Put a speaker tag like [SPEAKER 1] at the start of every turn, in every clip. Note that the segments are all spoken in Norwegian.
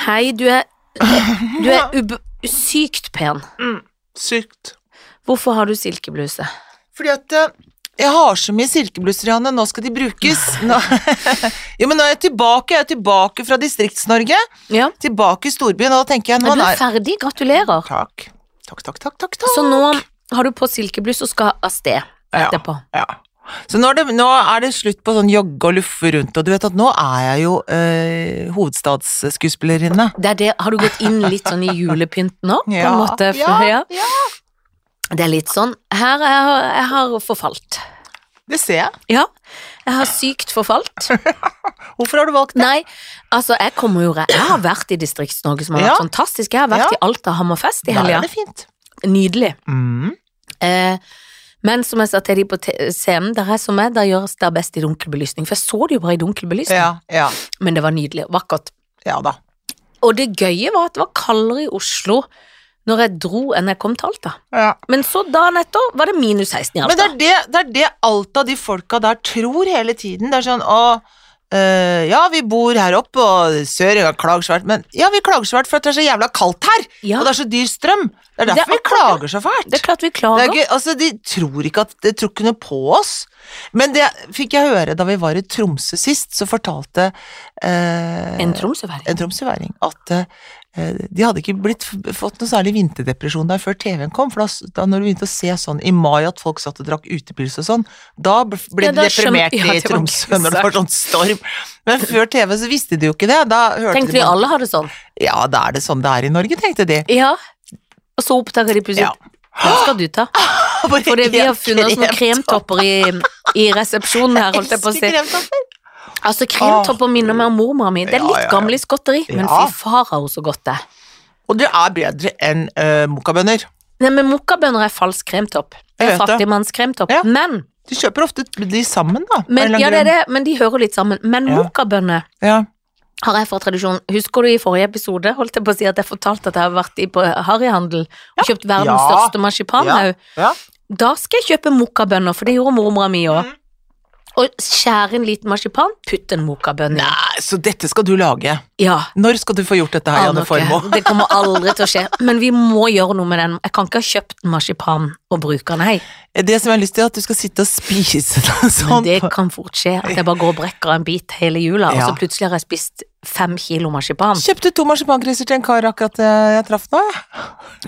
[SPEAKER 1] Hei, du er Du er ub sykt pen.
[SPEAKER 2] Sykt.
[SPEAKER 1] Hvorfor har du silkebluse?
[SPEAKER 2] Fordi at eh, jeg har så mye silkeblusser, Janne. Nå skal de brukes. Nå, jo, men nå er jeg tilbake. Jeg er tilbake fra Distrikts-Norge.
[SPEAKER 1] Ja.
[SPEAKER 2] Tilbake i storbyen. Og da tenker jeg
[SPEAKER 1] Er
[SPEAKER 2] nå
[SPEAKER 1] du
[SPEAKER 2] er
[SPEAKER 1] ferdig? Gratulerer.
[SPEAKER 2] Takk. Takk, takk, takk, takk.
[SPEAKER 1] Så nå har du på silkeblus og skal av sted
[SPEAKER 2] Ja.
[SPEAKER 1] etterpå.
[SPEAKER 2] Ja. Så nå er, det, nå er det slutt på sånn jogge og luffe rundt, og du vet at nå er jeg jo eh, hovedstadsskuespillerinne.
[SPEAKER 1] Det er det, har du gått inn litt sånn i julepynten nå? På
[SPEAKER 2] Ja.
[SPEAKER 1] en måte?
[SPEAKER 2] Ja,
[SPEAKER 1] Ja. Det er litt sånn Her er jeg, jeg har forfalt.
[SPEAKER 2] Det ser jeg.
[SPEAKER 1] Ja. Jeg har sykt forfalt.
[SPEAKER 2] Hvorfor har du valgt det?
[SPEAKER 1] Nei, altså jeg kommer jo re- Jeg har vært i Distrikts-Norge, som har
[SPEAKER 2] Ja.
[SPEAKER 1] vært fantastisk. Jeg har vært
[SPEAKER 2] Ja.
[SPEAKER 1] i Alta Hammerfest i
[SPEAKER 2] Der
[SPEAKER 1] helga.
[SPEAKER 2] er det fint.
[SPEAKER 1] Nydelig.
[SPEAKER 2] Mm.
[SPEAKER 1] Eh, men som jeg sa til de på te- scenen, der jeg som er, der gjøres det best i dunkel belysning. For jeg så det jo bare i dunkel belysning,
[SPEAKER 2] Ja, ja,
[SPEAKER 1] men det var nydelig og vakkert.
[SPEAKER 2] ja da.
[SPEAKER 1] Og det gøye var at det var kaldere i Oslo når jeg dro enn jeg kom til Alta.
[SPEAKER 2] Ja.
[SPEAKER 1] Men så dagen etter var det minus 16 i
[SPEAKER 2] Men det
[SPEAKER 1] Alta.
[SPEAKER 2] er det, det er det Alta, de folka der, tror hele tiden. Det er sånn å eh, ja, vi bor her oppe, og Sørenga klager svært, men ja, vi klager så svært for at det er så jævla kaldt her,
[SPEAKER 1] Ja.
[SPEAKER 2] og det er så dyr strøm. Det er
[SPEAKER 1] Det er
[SPEAKER 2] derfor vi klager så fælt.
[SPEAKER 1] Det er klart vi
[SPEAKER 2] Det
[SPEAKER 1] klager.
[SPEAKER 2] er gøy, altså De tror ikke at De tror ikke noe på oss. Men det fikk jeg høre da vi var i Tromsø sist, så fortalte eh,
[SPEAKER 1] En tromsøværing.
[SPEAKER 2] en tromsøværing at eh, de hadde ikke blitt, fått noe særlig vinterdepresjon der før TV-en kom. For da, s- da når du begynte å se sånn i mai at folk satt og drakk utepils og sånn, da b- ble
[SPEAKER 1] Ja, da
[SPEAKER 2] de deprimert
[SPEAKER 1] skjønte- ja,
[SPEAKER 2] i
[SPEAKER 1] det var
[SPEAKER 2] Tromsø
[SPEAKER 1] ikke
[SPEAKER 2] når det var sånn storm. Men før TV så visste de jo ikke det. Da hørte
[SPEAKER 1] Tenkte vi
[SPEAKER 2] de bare,
[SPEAKER 1] alle har det sånn.
[SPEAKER 2] Ja, da er det sånn det er i Norge, tenkte de.
[SPEAKER 1] Ja. Og så oppdager de plutselig
[SPEAKER 2] Ja.
[SPEAKER 1] Hva skal du ta? Fordi vi har funnet oss noen kremtopper i, i resepsjonen her, holdt jeg på å si. Altså, kremtopper minner meg om mormora mi. Det er
[SPEAKER 2] Ah. Ja, ja,
[SPEAKER 1] litt
[SPEAKER 2] ja.
[SPEAKER 1] gammelig skotteri, men
[SPEAKER 2] Ja.
[SPEAKER 1] fy far har hun så godt det.
[SPEAKER 2] Og det er bedre enn uh, mokabønner.
[SPEAKER 1] Nei, men mokkabønner er falsk kremtopp. Det
[SPEAKER 2] Jeg
[SPEAKER 1] er
[SPEAKER 2] vet det.
[SPEAKER 1] fattigmannskremtopp.
[SPEAKER 2] Ja.
[SPEAKER 1] Men,
[SPEAKER 2] De kjøper ofte de sammen, da. av en
[SPEAKER 1] men,
[SPEAKER 2] eller annen
[SPEAKER 1] ja, det er
[SPEAKER 2] grunn.
[SPEAKER 1] det, men de hører litt sammen. Men
[SPEAKER 2] Ja.
[SPEAKER 1] mokkabønner
[SPEAKER 2] Ja.
[SPEAKER 1] har jeg for tradisjon. Husker du i forrige episode holdt jeg på å si at jeg fortalte at jeg har vært i på harryhandel og kjøpt verdens
[SPEAKER 2] Ja.
[SPEAKER 1] største marsipanhaug?
[SPEAKER 2] Ja. Mm.
[SPEAKER 1] Da skal jeg kjøpe mokkabønner, for det gjorde mormora mi òg. Og skjære en liten marsipan, putt en mokkabønn i.
[SPEAKER 2] Nei, så dette skal du lage.
[SPEAKER 1] Ja.
[SPEAKER 2] Når skal du få gjort dette her,
[SPEAKER 1] aner
[SPEAKER 2] Janne Formoe?
[SPEAKER 1] ikke. Det kommer aldri til å skje. Men vi må gjøre noe med den. Jeg kan ikke ha kjøpt marsipan og bruke den, hei.
[SPEAKER 2] Eh, Det som jeg har lyst til, er at du skal sitte og spise den
[SPEAKER 1] Men
[SPEAKER 2] sånn.
[SPEAKER 1] det kan fort skje at jeg bare går og brekker en bit hele jula, og
[SPEAKER 2] Ja.
[SPEAKER 1] så plutselig har jeg spist fem kilo marsipan.
[SPEAKER 2] Kjøpte to marsipankriser til en kar akkurat eh, jeg traff nå, jeg.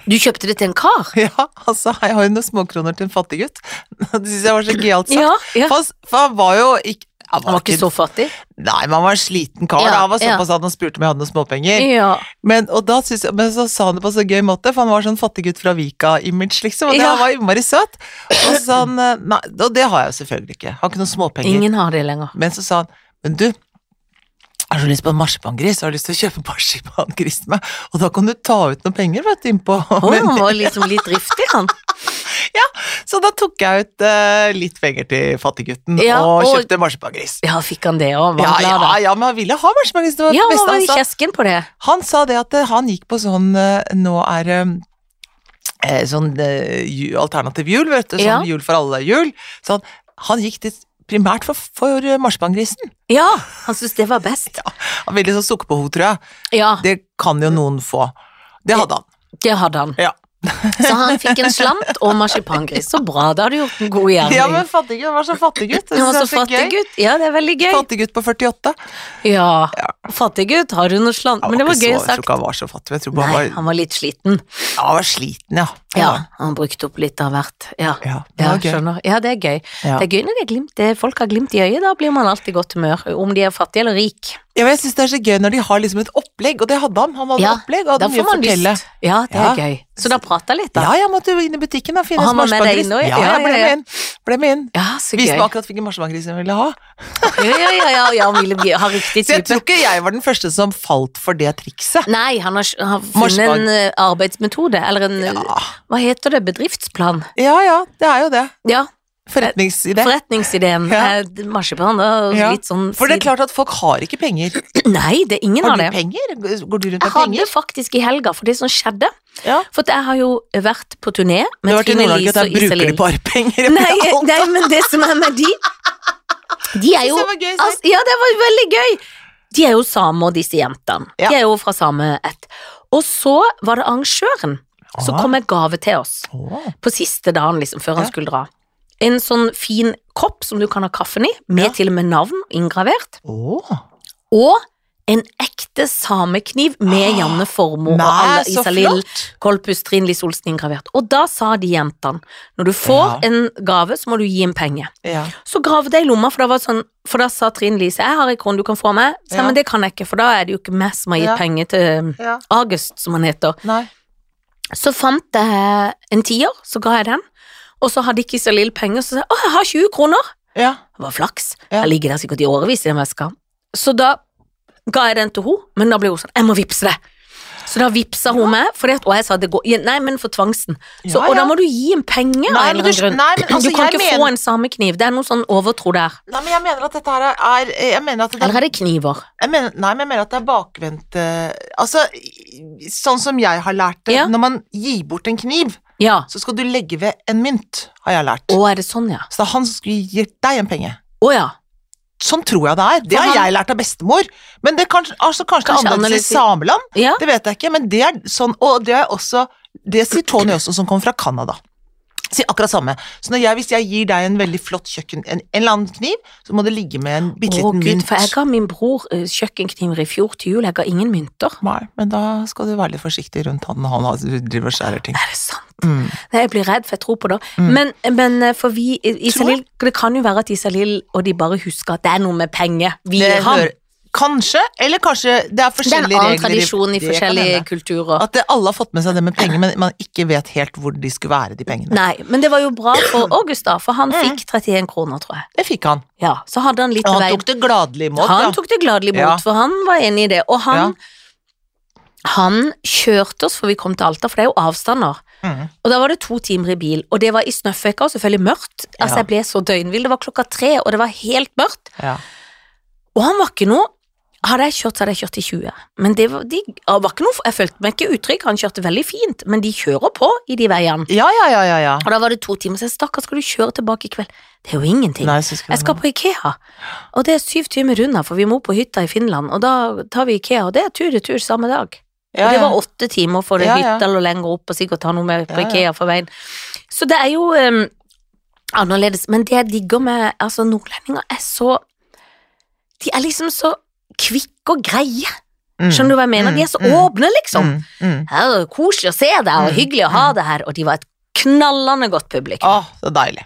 [SPEAKER 1] Du kjøpte det til en kar?
[SPEAKER 2] Ja, altså, jeg har jo noen småkroner til en fattig gutt. Det syns jeg var så gøyalt sagt.
[SPEAKER 1] Ja, ja.
[SPEAKER 2] For, han- for han var jo ikke Han
[SPEAKER 1] Han var ikke så fattig.
[SPEAKER 2] Nei, men han var en sliten kar.
[SPEAKER 1] Ja,
[SPEAKER 2] da. Han var
[SPEAKER 1] ja.
[SPEAKER 2] såpass at han spurte om jeg hadde noen småpenger.
[SPEAKER 1] Ja.
[SPEAKER 2] Men, og da synes jeg, men så sa han det på så gøy måte, for han var sånn fattiggutt fra Vika-image, liksom. Og det
[SPEAKER 1] Ja.
[SPEAKER 2] han var innmari søt. Og, så han, eh, nei, og det har jeg jo selvfølgelig ikke. Har ikke noen småpenger.
[SPEAKER 1] Ingen har det lenger.
[SPEAKER 2] Men så sa han Men du, jeg har så lyst på en marsipangris, jeg har lyst til å kjøpe marsipangris til meg. Og da kan du ta ut noen penger, vet du, innpå.
[SPEAKER 1] Å, han
[SPEAKER 2] Men,
[SPEAKER 1] var liksom litt driftig, han.
[SPEAKER 2] så da tok jeg ut eh, litt penger til fattiggutten
[SPEAKER 1] Ja,
[SPEAKER 2] og
[SPEAKER 1] og-
[SPEAKER 2] kjøpte marsipangris.
[SPEAKER 1] Ja, fikk han det òg? Var
[SPEAKER 2] Ja,
[SPEAKER 1] han glad,
[SPEAKER 2] ja,
[SPEAKER 1] da?
[SPEAKER 2] ja, men han ville ha marsipangris. Det var
[SPEAKER 1] Ja,
[SPEAKER 2] det
[SPEAKER 1] han
[SPEAKER 2] beste
[SPEAKER 1] var
[SPEAKER 2] han
[SPEAKER 1] i
[SPEAKER 2] sa.
[SPEAKER 1] kjesken på det.
[SPEAKER 2] Han sa det at eh, han gikk på sånn eh, Nå er det eh, sånn eh, ju- alternativ jul, vet du. Sånn
[SPEAKER 1] Ja.
[SPEAKER 2] jul for alle jul. Så han, han gikk dit primært for, for eh, marsipangrisen.
[SPEAKER 1] Ja, han syntes det var best.
[SPEAKER 2] Han ville sånn sukkerbehov, tror jeg.
[SPEAKER 1] Ja,
[SPEAKER 2] Det kan jo noen få. Det hadde han.
[SPEAKER 1] det hadde han.
[SPEAKER 2] Ja,
[SPEAKER 1] Så han fikk en slant og marsipangris. Så bra, da har du gjort en god gjerning.
[SPEAKER 2] ja men fattiggutt. Han var så fattiggutt.
[SPEAKER 1] Han var så altså, fattig gutt. Ja, det er veldig gøy.
[SPEAKER 2] Fattiggutt på 48.
[SPEAKER 1] Ja, fattig gutt, har du noe slant? Men det var gøy
[SPEAKER 2] ikke så, Jeg tror
[SPEAKER 1] sagt.
[SPEAKER 2] ikke han var så fattig. men Jeg tror bare
[SPEAKER 1] Nei,
[SPEAKER 2] han var,
[SPEAKER 1] han var litt sliten.
[SPEAKER 2] ja, han var sliten, ja.
[SPEAKER 1] Ja, han brukte opp litt av hvert. Ja,
[SPEAKER 2] Ja, det
[SPEAKER 1] ja
[SPEAKER 2] var gøy.
[SPEAKER 1] skjønner. Ja, det er gøy.
[SPEAKER 2] Ja.
[SPEAKER 1] Det er gøy når det er glimt, det, folk har glimt i øyet, da blir man alltid i godt humør. Om de er fattige eller rik.
[SPEAKER 2] Ja, men jeg syns det er så gøy når de har liksom et opplegg, og det hadde han. Han hadde
[SPEAKER 1] Ja,
[SPEAKER 2] opplegg og
[SPEAKER 1] Da
[SPEAKER 2] hadde mye
[SPEAKER 1] får
[SPEAKER 2] å
[SPEAKER 1] man
[SPEAKER 2] fortelle.
[SPEAKER 1] lyst. Ja, det
[SPEAKER 2] Ja.
[SPEAKER 1] er gøy. Så da prata litt,
[SPEAKER 2] Ja,
[SPEAKER 1] da.
[SPEAKER 2] jeg måtte jo inn i butikken og finne
[SPEAKER 1] Og han var med deg
[SPEAKER 2] marsipangris.
[SPEAKER 1] inn også, ja.
[SPEAKER 2] Ja,
[SPEAKER 1] Ja,
[SPEAKER 2] jeg
[SPEAKER 1] ja,
[SPEAKER 2] ble
[SPEAKER 1] ja.
[SPEAKER 2] med inn. Ble med inn.
[SPEAKER 1] Ja, så gøy.
[SPEAKER 2] Viste meg
[SPEAKER 1] Ja,
[SPEAKER 2] akkurat hvilken marsipangris jeg ville ha.
[SPEAKER 1] ja, ja, ja, ja han ville bli- ha riktig
[SPEAKER 2] Så jeg
[SPEAKER 1] type.
[SPEAKER 2] tror ikke jeg var den første som falt for det trikset.
[SPEAKER 1] Nei, han har, han har funnet
[SPEAKER 2] Marsipang.
[SPEAKER 1] en eh, arbeidsmetode, eller en eh,
[SPEAKER 2] Ja,
[SPEAKER 1] Hva heter det? Bedriftsplan?
[SPEAKER 2] ja, ja det er jo det.
[SPEAKER 1] Ja,
[SPEAKER 2] Forretningsidé.
[SPEAKER 1] forretningsideen.
[SPEAKER 2] Ja.
[SPEAKER 1] Eh, Marsipan, da.
[SPEAKER 2] Ja.
[SPEAKER 1] Litt sånn
[SPEAKER 2] For det er klart at folk har ikke penger.
[SPEAKER 1] Nei, det, ingen har
[SPEAKER 2] Har du
[SPEAKER 1] det.
[SPEAKER 2] penger? Går du rundt
[SPEAKER 1] Jeg
[SPEAKER 2] med
[SPEAKER 1] hadde
[SPEAKER 2] penger?
[SPEAKER 1] faktisk i helga, for det som skjedde
[SPEAKER 2] Ja.
[SPEAKER 1] For at jeg har jo vært på turné
[SPEAKER 2] Du
[SPEAKER 1] med
[SPEAKER 2] har vært i
[SPEAKER 1] Trine
[SPEAKER 2] Nord-Norge,
[SPEAKER 1] Lise
[SPEAKER 2] der
[SPEAKER 1] og
[SPEAKER 2] bruker de
[SPEAKER 1] Iselin.
[SPEAKER 2] bare penger.
[SPEAKER 1] Nei, nei, men det som er med de De er jo
[SPEAKER 2] Det var gøy sagt.
[SPEAKER 1] altså, Ja, det var veldig gøy! De er jo samer, disse jentene.
[SPEAKER 2] Ja.
[SPEAKER 1] De er jo fra samme ett. Og så var det arrangøren som
[SPEAKER 2] Ah.
[SPEAKER 1] kom med gave til oss
[SPEAKER 2] Åh.
[SPEAKER 1] på siste dagen, liksom, før han
[SPEAKER 2] Ja.
[SPEAKER 1] skulle dra. En sånn fin kopp som du kan ha kaffen i, med
[SPEAKER 2] Ja.
[SPEAKER 1] til og med navn inngravert.
[SPEAKER 2] Åh.
[SPEAKER 1] Og en ekte samekniv med Janne Formoe og
[SPEAKER 2] Nei,
[SPEAKER 1] alle
[SPEAKER 2] så
[SPEAKER 1] Isalill
[SPEAKER 2] flott!
[SPEAKER 1] Kolpus Trine Lise Olsen inngravert. Og da sa de jentene når du får
[SPEAKER 2] Ja.
[SPEAKER 1] en gave, så må du gi en penge.
[SPEAKER 2] Ja.
[SPEAKER 1] Så gravde jeg i lomma, for da, var det sånn, for da sa Trine Lise jeg har en krone du kan få av meg. Så, jeg,
[SPEAKER 2] Ja.
[SPEAKER 1] Men det kan jeg ikke, for da er det jo ikke meg som har gitt
[SPEAKER 2] Ja.
[SPEAKER 1] penger til
[SPEAKER 2] ja.
[SPEAKER 1] August, som han heter.
[SPEAKER 2] Nei.
[SPEAKER 1] Så fant jeg en tier, så ga jeg den. Og så hadde ikke Isalill penger, så sa jeg å, jeg har 20 kroner.
[SPEAKER 2] Ja.
[SPEAKER 1] Det var flaks.
[SPEAKER 2] Ja.
[SPEAKER 1] Jeg ligger der sikkert i årevis i den veska. Så da ga jeg den til hun, men da ble hun sånn jeg må vippse det. Så da vippsa hun meg, fordi at, og jeg sa det går Nei, men for tvangsen. Så,
[SPEAKER 2] Ja,
[SPEAKER 1] Og da
[SPEAKER 2] ja.
[SPEAKER 1] må du gi en penge av en
[SPEAKER 2] Nei,
[SPEAKER 1] eller
[SPEAKER 2] men du,
[SPEAKER 1] annen grunn.
[SPEAKER 2] nei, men, altså,
[SPEAKER 1] du kan
[SPEAKER 2] jeg
[SPEAKER 1] ikke
[SPEAKER 2] mener,
[SPEAKER 1] få en samekniv. Det er noe sånn overtro der.
[SPEAKER 2] Nei, men jeg mener at dette her er Jeg mener at det
[SPEAKER 1] Eller er det kniver?
[SPEAKER 2] Jeg mener, nei, men jeg mener at det er bakvendt eh, Altså, i- sånn som jeg har lært det,
[SPEAKER 1] Ja.
[SPEAKER 2] når man gir bort en kniv,
[SPEAKER 1] Ja.
[SPEAKER 2] så skal du legge ved en mynt, har jeg lært.
[SPEAKER 1] Å, er det sånn, ja?
[SPEAKER 2] Så da han skulle gitt deg en penge.
[SPEAKER 1] Å ja.
[SPEAKER 2] Sånn tror jeg det er. Det
[SPEAKER 1] For
[SPEAKER 2] har
[SPEAKER 1] han-
[SPEAKER 2] jeg lært av bestemor. Men det kan, altså, kanskje,
[SPEAKER 1] Kanskje
[SPEAKER 2] det er annerledes i
[SPEAKER 1] analysi-
[SPEAKER 2] sameland,
[SPEAKER 1] Ja.
[SPEAKER 2] det vet jeg ikke, men det er sånn, og det er også Det sier Tony også, som kommer fra Canada. Sier akkurat samme. Så når jeg, hvis jeg gir deg en veldig flott kjøkken, en, en eller annen kniv, så må det ligge med en bitte
[SPEAKER 1] Å
[SPEAKER 2] liten
[SPEAKER 1] gud,
[SPEAKER 2] mynt.
[SPEAKER 1] for jeg ga min bror eh, kjøkkenkniver i fjor til jul, jeg ga ingen mynter.
[SPEAKER 2] Nei, men da skal du være litt forsiktig rundt han når han har- driver og skjærer ting.
[SPEAKER 1] Er det sant?
[SPEAKER 2] Mm.
[SPEAKER 1] Nei, jeg blir redd, for jeg tror på det.
[SPEAKER 2] Mm.
[SPEAKER 1] Men, men eh, for vi
[SPEAKER 2] Tror jeg.
[SPEAKER 1] Isalill, Det kan jo være at Isalill og de bare husker at det er noe med penger. Vi
[SPEAKER 2] Det
[SPEAKER 1] gir ham.
[SPEAKER 2] hører- Eh, Kanskje, eller kanskje det er
[SPEAKER 1] Det er en
[SPEAKER 2] forskjellige regler.
[SPEAKER 1] annen
[SPEAKER 2] i-
[SPEAKER 1] tradisjon i
[SPEAKER 2] Det kan
[SPEAKER 1] forskjellige
[SPEAKER 2] hende.
[SPEAKER 1] kulturer.
[SPEAKER 2] At det, alle har fått med seg det med penger, men man ikke vet helt hvor de skulle være, de pengene.
[SPEAKER 1] Nei, men det var jo bra for August, da, for han
[SPEAKER 2] Mm.
[SPEAKER 1] fikk 31 kroner, tror jeg.
[SPEAKER 2] Det fikk han.
[SPEAKER 1] Ja, Så hadde han litt
[SPEAKER 2] Og
[SPEAKER 1] å
[SPEAKER 2] han
[SPEAKER 1] veie
[SPEAKER 2] tok det gladelig imot. ja.
[SPEAKER 1] Han tok det gladelig imot,
[SPEAKER 2] Ja.
[SPEAKER 1] for han var enig i det. Og han, han kjørte oss, for vi kom til Alta, for det er jo avstander.
[SPEAKER 2] Mm.
[SPEAKER 1] Og da var det to timer i bil, og det var i snøføyka og selvfølgelig mørkt. Altså,
[SPEAKER 2] Ja.
[SPEAKER 1] jeg ble så døgnvill. Det var klokka tre, og det var helt mørkt.
[SPEAKER 2] Ja.
[SPEAKER 1] Og han var ikke noe Hadde jeg kjørt, så hadde jeg kjørt i 20. Men det var, de, det var ikke noe Jeg følte meg ikke utrygg, han kjørte veldig fint, men de kjører på i de veiene.
[SPEAKER 2] ja, ja, ja, ja, ja.
[SPEAKER 1] Og da var det to timer, så jeg stakkar, skal du kjøre tilbake i kveld? Det er jo ingenting.
[SPEAKER 2] Nei, så skulle
[SPEAKER 1] Jeg skal
[SPEAKER 2] han-
[SPEAKER 1] på Ikea, og det er syv timer unna, for vi må på hytta i Finland, og da tar vi Ikea, og det er tur i tur samme dag.
[SPEAKER 2] ja,
[SPEAKER 1] Og det
[SPEAKER 2] ja.
[SPEAKER 1] var åtte timer for det
[SPEAKER 2] Ja, ja.
[SPEAKER 1] hytta eller lenger opp, og sikkert ta noe med på
[SPEAKER 2] Ja, ja.
[SPEAKER 1] Ikea for veien. Så det er jo em, annerledes, men det jeg digger med altså nordlendinger er så De er liksom så kvikke og greie,
[SPEAKER 2] Mm.
[SPEAKER 1] skjønner du hva jeg mener?
[SPEAKER 2] Mm,
[SPEAKER 1] De er så
[SPEAKER 2] mm,
[SPEAKER 1] åpne, liksom.
[SPEAKER 2] Mm. Mm.
[SPEAKER 1] Ja, det er koselig å se deg, og
[SPEAKER 2] Mm,
[SPEAKER 1] hyggelig å ha deg her, og de var et knallende godt publikum.
[SPEAKER 2] Åh, så deilig.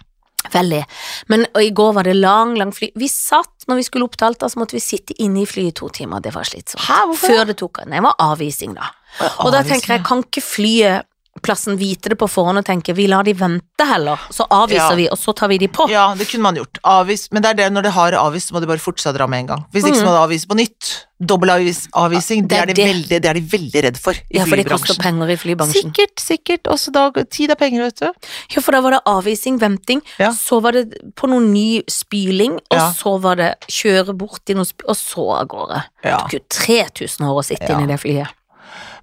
[SPEAKER 1] Veldig. Men og i går var det lang, lang fly. Vi satt, når vi skulle opp til Alta, så måtte vi sitte inne i flyet i to timer. Det var slitsomt.
[SPEAKER 2] Hæ, hvorfor
[SPEAKER 1] Før det tok av. Nei, det var avvisning, da. Og da tenker jeg, kan ikke flyplassen vite det på forhånd og tenke vi lar de vente heller, så avviser
[SPEAKER 2] Ja.
[SPEAKER 1] vi, og så tar vi de på.
[SPEAKER 2] Ja, det kunne man gjort. Avvis. Men det er det, når det har avvist, så må de bare fortsatt dra med en gang. Hvis ikke
[SPEAKER 1] Mm.
[SPEAKER 2] så må det avvise på nytt. Dobbeltavvising, det,
[SPEAKER 1] Det er
[SPEAKER 2] er de
[SPEAKER 1] det.
[SPEAKER 2] veldig- det er de veldig redd for i
[SPEAKER 1] Ja, for det koster
[SPEAKER 2] flybransjen.
[SPEAKER 1] penger i flybransjen.
[SPEAKER 2] Sikkert, sikkert. Også da, tid er penger, vet du.
[SPEAKER 1] Ja, for da var det avvisning, venting,
[SPEAKER 2] Ja.
[SPEAKER 1] så var det på noe ny spyling, og
[SPEAKER 2] Ja.
[SPEAKER 1] så var det kjøre bort til noe spy... Og så av gårde.
[SPEAKER 2] Ja.
[SPEAKER 1] Det tok jo 3000 år å sitte
[SPEAKER 2] Ja.
[SPEAKER 1] inne i det flyet.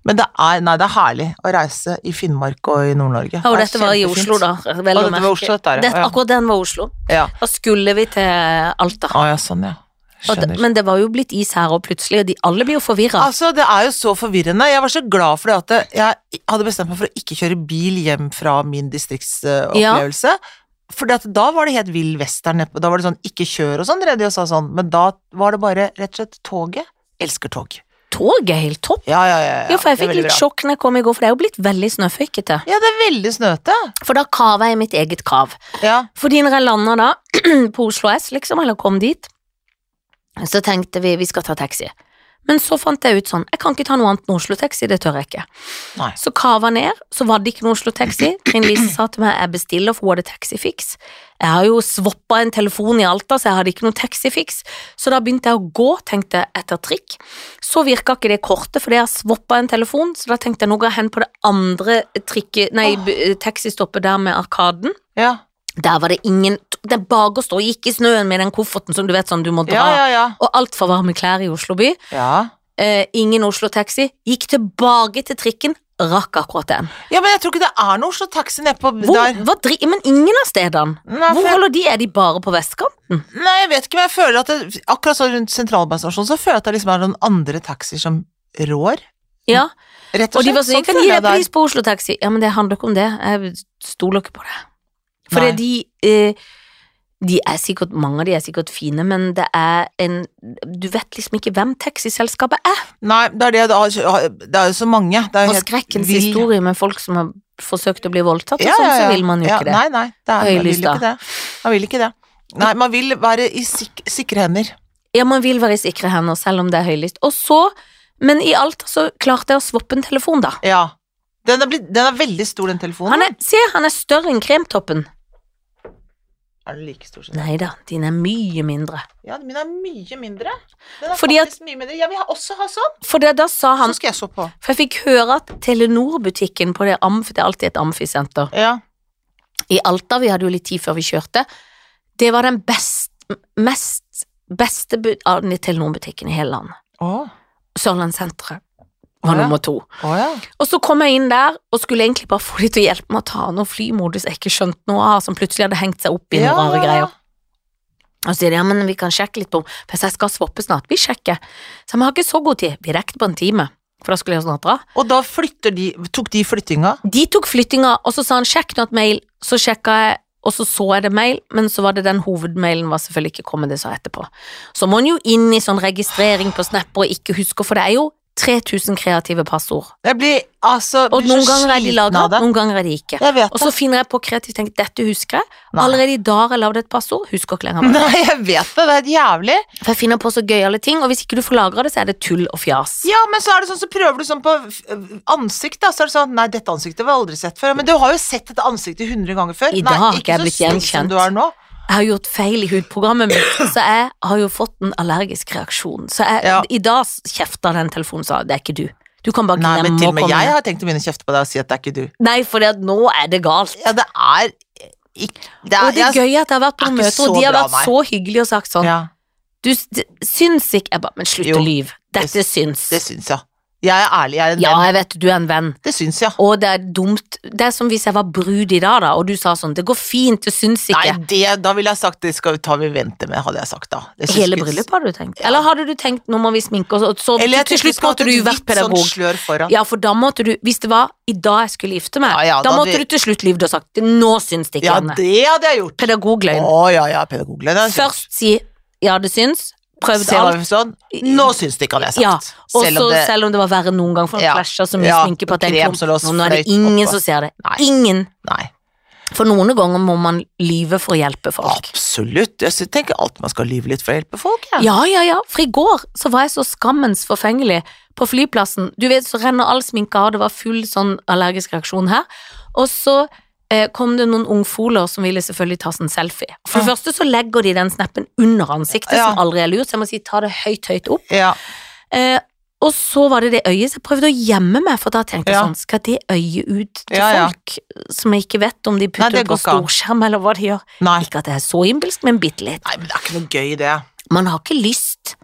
[SPEAKER 2] Men det er, nei, det er herlig å reise i Finnmark og i Nord-Norge.
[SPEAKER 1] Ja, og
[SPEAKER 2] Det er
[SPEAKER 1] dette var i
[SPEAKER 2] kjempefint.
[SPEAKER 1] Oslo, da. Vel
[SPEAKER 2] Å,
[SPEAKER 1] å
[SPEAKER 2] dette var
[SPEAKER 1] merke.
[SPEAKER 2] Oslo, dette her,
[SPEAKER 1] Det,
[SPEAKER 2] ja.
[SPEAKER 1] akkurat den var Oslo.
[SPEAKER 2] Ja.
[SPEAKER 1] Da skulle vi til Alta.
[SPEAKER 2] Å ja, sånn, ja.
[SPEAKER 1] Og det,
[SPEAKER 2] Skjønner.
[SPEAKER 1] men det var jo blitt is her og plutselig, og de alle blir jo forvirra.
[SPEAKER 2] Altså, det er jo så forvirrende. Jeg var så glad for det at det- jeg hadde bestemt meg for å ikke kjøre bil hjem fra min distriktsopplevelse. Fordi at da var det helt vill western nedpå. Da var det sånn ikke kjør og sånn, drev de og sa sånn. Men da var det bare rett og slett toget. Elsker tog.
[SPEAKER 1] Tog er helt topp.
[SPEAKER 2] Ja, ja, ja. ja.
[SPEAKER 1] Ja, for jeg
[SPEAKER 2] Det er
[SPEAKER 1] fikk
[SPEAKER 2] veldig
[SPEAKER 1] litt
[SPEAKER 2] bra.
[SPEAKER 1] sjokk når jeg kom i går, for det er jo blitt veldig snøføykete.
[SPEAKER 2] Ja, det er veldig snøte.
[SPEAKER 1] For da kava jeg mitt eget krav.
[SPEAKER 2] Ja.
[SPEAKER 1] Fordi når jeg landa da, på Oslo S, liksom, eller kom dit, så tenkte vi vi skal ta taxi. Men så fant jeg ut sånn, jeg kan ikke ta noe annet enn Oslo-taxi, det tør jeg ikke.
[SPEAKER 2] Nei.
[SPEAKER 1] Så kava jeg ned, så var det ikke noe Oslo-taxi. Trine Lise sa til meg jeg bestiller, for hun hadde taxifix. Jeg har jo swappa en telefon i Alta, så jeg hadde ikke noe taxifix. Så da begynte jeg å gå, tenkte jeg, etter trikk. Så virka ikke det kortet, fordi jeg har swappa en telefon, så da tenkte jeg nå går jeg hen på det andre trikke, nei,
[SPEAKER 2] Åh.
[SPEAKER 1] b- taxistoppet der med Arkaden.
[SPEAKER 2] Ja,
[SPEAKER 1] Der var det ingen Det er bare å stå, jeg gikk i snøen med den kofferten som du vet sånn du må dra.
[SPEAKER 2] ja, ja. ja.
[SPEAKER 1] Og altfor varme klær i Oslo by.
[SPEAKER 2] ja.
[SPEAKER 1] Eh, ingen Oslo-taxi. Gikk tilbake til trikken, rakk akkurat den.
[SPEAKER 2] Ja, men jeg tror ikke det er noe Oslo Taxi nedpå
[SPEAKER 1] Hvor,
[SPEAKER 2] der.
[SPEAKER 1] hva dri men ingen av stedene.
[SPEAKER 2] Nei, for
[SPEAKER 1] Hvor
[SPEAKER 2] jeg,
[SPEAKER 1] holder de? Er de bare på vestkanten?
[SPEAKER 2] nei, jeg vet ikke, men jeg føler at det, akkurat så rundt sentralbanestasjonen så føler jeg at det liksom er noen andre taxier som rår.
[SPEAKER 1] Ja.
[SPEAKER 2] Rett
[SPEAKER 1] Og
[SPEAKER 2] og
[SPEAKER 1] de
[SPEAKER 2] slett.
[SPEAKER 1] var sånn,
[SPEAKER 2] Mm. sånn
[SPEAKER 1] kan gi
[SPEAKER 2] føler
[SPEAKER 1] deg
[SPEAKER 2] jeg det er.
[SPEAKER 1] pris på Oslo Taxi. Ja, men det handler ikke om det. Jeg stoler ikke på det. For
[SPEAKER 2] Nei.
[SPEAKER 1] de, eh, de er sikkert, mange av de er sikkert fine, men det er en Du vet liksom ikke hvem taxiselskapet er.
[SPEAKER 2] Nei, det er det det har- Det er jo så mange. Det er jo
[SPEAKER 1] Og
[SPEAKER 2] helt
[SPEAKER 1] skrekkens
[SPEAKER 2] vill-
[SPEAKER 1] historie med folk som har forsøkt å bli voldtatt, og
[SPEAKER 2] Ja,
[SPEAKER 1] sånn,
[SPEAKER 2] ja,
[SPEAKER 1] så
[SPEAKER 2] ja.
[SPEAKER 1] vil man jo
[SPEAKER 2] Ja,
[SPEAKER 1] ikke det.
[SPEAKER 2] Nei, nei, det er, man vil
[SPEAKER 1] Høylys,
[SPEAKER 2] ikke det. Man vil ikke det. Nei, man vil være i sik sikre hender.
[SPEAKER 1] Ja, man vil være i sikre hender, selv om det er høylyst. Og så, men i Alta så klarte jeg å swappe en telefon, da.
[SPEAKER 2] Ja. Den er, blitt, den er veldig stor, den telefonen.
[SPEAKER 1] Han er, se, han er større enn kremtoppen.
[SPEAKER 2] Er den like stor som den?
[SPEAKER 1] Nei da, din er mye mindre.
[SPEAKER 2] Ja, min er mye mindre. Den er
[SPEAKER 1] Fordi at-
[SPEAKER 2] faktisk mye mindre. Jeg vil ha- også ha sånn.
[SPEAKER 1] For det, da sa han
[SPEAKER 2] Så skal jeg så på.
[SPEAKER 1] For jeg fikk høre at Telenor-butikken på det amf, det er alltid et amfisenter,
[SPEAKER 2] Ja.
[SPEAKER 1] i Alta, vi hadde jo litt tid før vi kjørte, det var den best, mest, beste bu- av den Telenor-butikken i hele landet.
[SPEAKER 2] Å,
[SPEAKER 1] Sørlandssenteret var
[SPEAKER 2] Å ja.
[SPEAKER 1] nummer to.
[SPEAKER 2] å ja.
[SPEAKER 1] Og så kom jeg inn der, og skulle egentlig bare få de til å hjelpe meg å ta noe flymodus jeg ikke skjønte noe av, som plutselig hadde hengt seg opp i noen
[SPEAKER 2] Ja,
[SPEAKER 1] rare
[SPEAKER 2] ja, ja.
[SPEAKER 1] greier. Og så sier de, ja, men vi kan sjekke litt på om For jeg skal swappe snart, vi sjekker. Så vi har ikke så god tid. Vi rekker på en time, for da skulle jeg snart dra.
[SPEAKER 2] Og da flytter de Tok de flyttinga?
[SPEAKER 1] De tok flyttinga, og så sa han 'sjekk not mail', så sjekka jeg, og så så jeg det mail, men så var det den hovedmailen var selvfølgelig ikke kommet, det sa jeg etterpå. Så må en jo inn i sånn registrering på Snapper og ikke huske, for det er jo 3000 kreative passord.
[SPEAKER 2] Jeg blir altså
[SPEAKER 1] Og
[SPEAKER 2] blir
[SPEAKER 1] noen
[SPEAKER 2] så
[SPEAKER 1] ganger er de
[SPEAKER 2] sliten
[SPEAKER 1] lagra,
[SPEAKER 2] av det.
[SPEAKER 1] noen ganger er de ikke.
[SPEAKER 2] Jeg vet
[SPEAKER 1] Og
[SPEAKER 2] det.
[SPEAKER 1] så finner jeg på kreativt tenkt, dette husker jeg.
[SPEAKER 2] Nei.
[SPEAKER 1] Allerede i dag har jeg lagd et passord, husker ikke lenger. hva det
[SPEAKER 2] Nei, jeg vet det. Det er jævlig.
[SPEAKER 1] er. For jeg finner på så gøyale ting, og hvis ikke du får lagra det, så er det tull og fjas.
[SPEAKER 2] Ja, men så er det sånn, så prøver du sånn på f- ansikt, da, så er det sånn Nei, dette ansiktet var aldri sett før. Men du har jo sett dette ansiktet 100 ganger før.
[SPEAKER 1] I dag
[SPEAKER 2] Nei,
[SPEAKER 1] har ikke jeg
[SPEAKER 2] så
[SPEAKER 1] blitt
[SPEAKER 2] slik
[SPEAKER 1] gjenkjent.
[SPEAKER 2] Som du er nå.
[SPEAKER 1] jeg har gjort feil i hudprogrammet mitt, så jeg har jo fått en allergisk reaksjon. Så jeg,
[SPEAKER 2] Ja.
[SPEAKER 1] i dag kjefta den telefonen og sa det er ikke du. Du kan bare
[SPEAKER 2] Nei,
[SPEAKER 1] glemme
[SPEAKER 2] men til
[SPEAKER 1] å
[SPEAKER 2] og med
[SPEAKER 1] komme.
[SPEAKER 2] jeg
[SPEAKER 1] ned.»
[SPEAKER 2] har tenkt å begynne å kjefte på deg og si at det er ikke du.
[SPEAKER 1] Nei, for nå er det galt.
[SPEAKER 2] Ja, det er ikke Det
[SPEAKER 1] Og det
[SPEAKER 2] jeg-
[SPEAKER 1] er gøy at jeg har vært på
[SPEAKER 2] er ikke
[SPEAKER 1] møter, og
[SPEAKER 2] så
[SPEAKER 1] de har
[SPEAKER 2] bra,
[SPEAKER 1] vært
[SPEAKER 2] nei.
[SPEAKER 1] så hyggelige og sagt sånn
[SPEAKER 2] Ja,
[SPEAKER 1] Du s- d- syns ikke Jeg bare Men slutt
[SPEAKER 2] Jo,
[SPEAKER 1] å lyve. Dette
[SPEAKER 2] det-
[SPEAKER 1] syns.
[SPEAKER 2] det syns jeg. Jeg er ærlig, jeg er en
[SPEAKER 1] ja,
[SPEAKER 2] venn.
[SPEAKER 1] jeg vet du er en venn,
[SPEAKER 2] Det syns jeg.
[SPEAKER 1] og det er dumt. Det er som hvis jeg var brud i dag, da, og du sa sånn Det går fint, det syns
[SPEAKER 2] Nei,
[SPEAKER 1] ikke.
[SPEAKER 2] det, da ville jeg sagt det skal vi ta vi vente med, hadde jeg sagt da. Det syns
[SPEAKER 1] Hele
[SPEAKER 2] ikke-
[SPEAKER 1] bryllupet, hadde du tenkt? Eller hadde du tenkt nå må vi sminke oss, og så
[SPEAKER 2] Eller jeg
[SPEAKER 1] til
[SPEAKER 2] tenkte vi
[SPEAKER 1] slutt
[SPEAKER 2] skulle hatt
[SPEAKER 1] måtte
[SPEAKER 2] et
[SPEAKER 1] du jo vært
[SPEAKER 2] hvitt sånn
[SPEAKER 1] pedagog?
[SPEAKER 2] slør foran.
[SPEAKER 1] Ja, for da måtte du, hvis det var i dag jeg skulle gifte meg,
[SPEAKER 2] Ja, ja,
[SPEAKER 1] da,
[SPEAKER 2] da
[SPEAKER 1] måtte
[SPEAKER 2] hadde-
[SPEAKER 1] du til slutt lyve og sagt nå syns det ikke
[SPEAKER 2] Ja,
[SPEAKER 1] Anne.
[SPEAKER 2] det hadde jeg gjort.
[SPEAKER 1] Pedagogløgn.
[SPEAKER 2] Å ja, ja, pedagogløgn. det syns jeg.
[SPEAKER 1] Først si ja, det syns, prøvd
[SPEAKER 2] Se hva
[SPEAKER 1] alt.
[SPEAKER 2] vi sånn. Nå syns det ikke han jeg
[SPEAKER 1] Ja,
[SPEAKER 2] har sagt.
[SPEAKER 1] Og så, selv om det var verre enn noen gang, for han
[SPEAKER 2] Ja.
[SPEAKER 1] flasha så mye
[SPEAKER 2] Ja,
[SPEAKER 1] sminke på at den
[SPEAKER 2] krem
[SPEAKER 1] kom.
[SPEAKER 2] som lå
[SPEAKER 1] Nå, nå er det
[SPEAKER 2] sprøyt
[SPEAKER 1] ingen
[SPEAKER 2] oppå.
[SPEAKER 1] som ser det.
[SPEAKER 2] Nei.
[SPEAKER 1] Ingen.
[SPEAKER 2] Nei,
[SPEAKER 1] For noen ganger må man lyve for å hjelpe folk.
[SPEAKER 2] absolutt. Jeg sy- tenker alt man skal lyve litt for å hjelpe folk, jeg.
[SPEAKER 1] Ja, ja, ja, for i går så var jeg så skammens forfengelig på flyplassen. Du vet, så renner all sminka av, det var full sånn allergisk reaksjon her. Og så eh, kom det noen ungfoler som ville selvfølgelig ta sin selfie. For det
[SPEAKER 2] Ja.
[SPEAKER 1] første så legger de den snappen under ansiktet,
[SPEAKER 2] Ja.
[SPEAKER 1] som aldri er lurt, så jeg må si ta det høyt, høyt opp.
[SPEAKER 2] Ja.
[SPEAKER 1] Eh, og så var det det øyet, så jeg prøvde å gjemme meg, for da tenkte jeg
[SPEAKER 2] Ja.
[SPEAKER 1] sånn, skal det øyet ut til
[SPEAKER 2] Ja, ja.
[SPEAKER 1] folk som jeg ikke vet om de putter
[SPEAKER 2] det
[SPEAKER 1] på
[SPEAKER 2] går ikke an.
[SPEAKER 1] storskjerm, eller hva de gjør?
[SPEAKER 2] Nei.
[SPEAKER 1] Ikke at det er så innbilsk, men bitte litt.
[SPEAKER 2] Nei, men det er ikke noe gøy, i det.
[SPEAKER 1] Man har ikke lyst.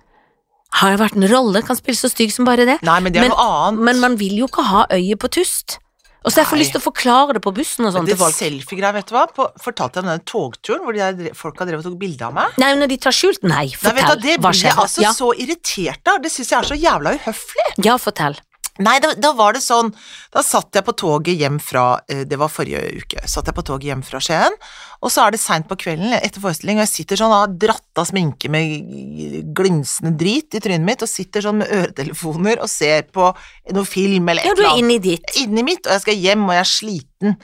[SPEAKER 1] Har det vært en rolle, kan spille så stygg som bare det.
[SPEAKER 2] Nei, men det er
[SPEAKER 1] Men-
[SPEAKER 2] noe annet.
[SPEAKER 1] Men man vil jo ikke ha øyet på tust. Og så jeg får
[SPEAKER 2] Nei.
[SPEAKER 1] lyst til å forklare det på bussen og sånn
[SPEAKER 2] det
[SPEAKER 1] til folk.
[SPEAKER 2] selfie-greia, vet du hva? På, fortalte jeg om den togturen hvor de der dre- folka drev og tok bilde av meg?
[SPEAKER 1] Nei, når de tar skjult Nei,
[SPEAKER 2] Nei, vet du,
[SPEAKER 1] fortell.
[SPEAKER 2] hva, det
[SPEAKER 1] Hva
[SPEAKER 2] blir jeg
[SPEAKER 1] skjer?
[SPEAKER 2] altså
[SPEAKER 1] ja.
[SPEAKER 2] så irritert av. Det syns jeg er så jævla uhøflig.
[SPEAKER 1] ja, fortell.
[SPEAKER 2] Nei, da, da var det sånn Da satt jeg på toget hjem fra eh, Det var forrige uke. Satt jeg på toget hjem fra Skien, og så er det seint på kvelden etter forestilling, og jeg sitter sånn og har dratt av sminke med glinsende drit i trynet mitt, og sitter sånn med øretelefoner og ser på noe film eller et
[SPEAKER 1] Ja, du
[SPEAKER 2] eller
[SPEAKER 1] er
[SPEAKER 2] annet
[SPEAKER 1] inne i ditt.
[SPEAKER 2] inni mitt, og jeg skal hjem, og jeg er sliten.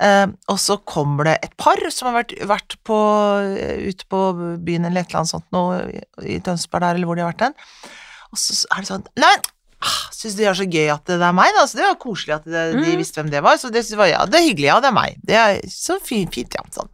[SPEAKER 2] Eh, og så kommer det et par som har vært, vært på, eh, ute på byen eller et eller annet sånt nå, i i Tønsberg der, eller hvor de har vært hen. Og så er det sånn Nei, ah, syns de er så gøy at det er meg, da. Så det var koselig at det, de
[SPEAKER 1] Mm.
[SPEAKER 2] visste hvem det var. Så det synes jeg var ja, det er hyggelig, ja, det er meg. Det er så fint, fint ja. Sånn.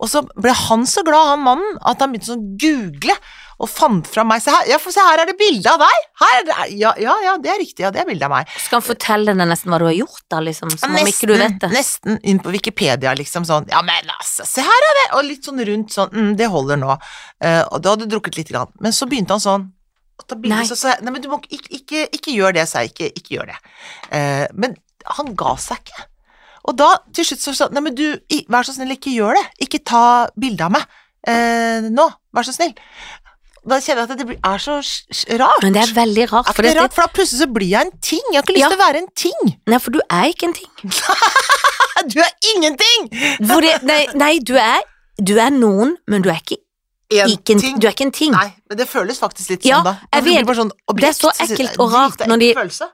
[SPEAKER 2] Og så ble han så glad, han mannen, at han begynte sånn å google og fant fra meg. Se her, ja, for se her er det bilde av deg! Her er det, ja, ja, ja, det er riktig, ja, det er bilde av meg.
[SPEAKER 1] Skal han fortelle deg nesten hva du har gjort, da, liksom? Som om ikke du vet det.
[SPEAKER 2] Nesten inn på Wikipedia, liksom sånn Ja, men altså, se her er det! Og litt sånn rundt sånn mm, Det holder nå. Eh, og da hadde du drukket lite grann. Men så begynte han sånn å ta bilder,
[SPEAKER 1] Nei.
[SPEAKER 2] så sa jeg Nei, men du må ikke, ikke, ikke gjør det, sa jeg. Ikke, ikke gjør det. Eh, men Han ga seg ikke. Og da til slutt så sa han nei, men du, i- vær så snill, ikke gjør det. Ikke ta bilde av meg eh, nå, vær så snill. Da kjenner jeg at det blir, er så s- s- rart.
[SPEAKER 1] Men det er veldig rart,
[SPEAKER 2] Er
[SPEAKER 1] for,
[SPEAKER 2] ikke det
[SPEAKER 1] dette-
[SPEAKER 2] rart, for da plutselig så blir jeg en ting. Jeg har ikke lyst
[SPEAKER 1] Ja.
[SPEAKER 2] til å være en ting.
[SPEAKER 1] Nei, for du er ikke en ting.
[SPEAKER 2] Du er ingenting!
[SPEAKER 1] For det, nei, nei du, er, du er noen, men du er ikke, ikke, en, du er ikke en ting.
[SPEAKER 2] Nei, men det føles faktisk litt
[SPEAKER 1] Ja,
[SPEAKER 2] sånn, da.
[SPEAKER 1] jeg
[SPEAKER 2] Det blir
[SPEAKER 1] vet.
[SPEAKER 2] bare sånn
[SPEAKER 1] Det er så
[SPEAKER 2] objekt.
[SPEAKER 1] ekkelt og
[SPEAKER 2] Det er
[SPEAKER 1] rart
[SPEAKER 2] en
[SPEAKER 1] når de-
[SPEAKER 2] ekkel følelse.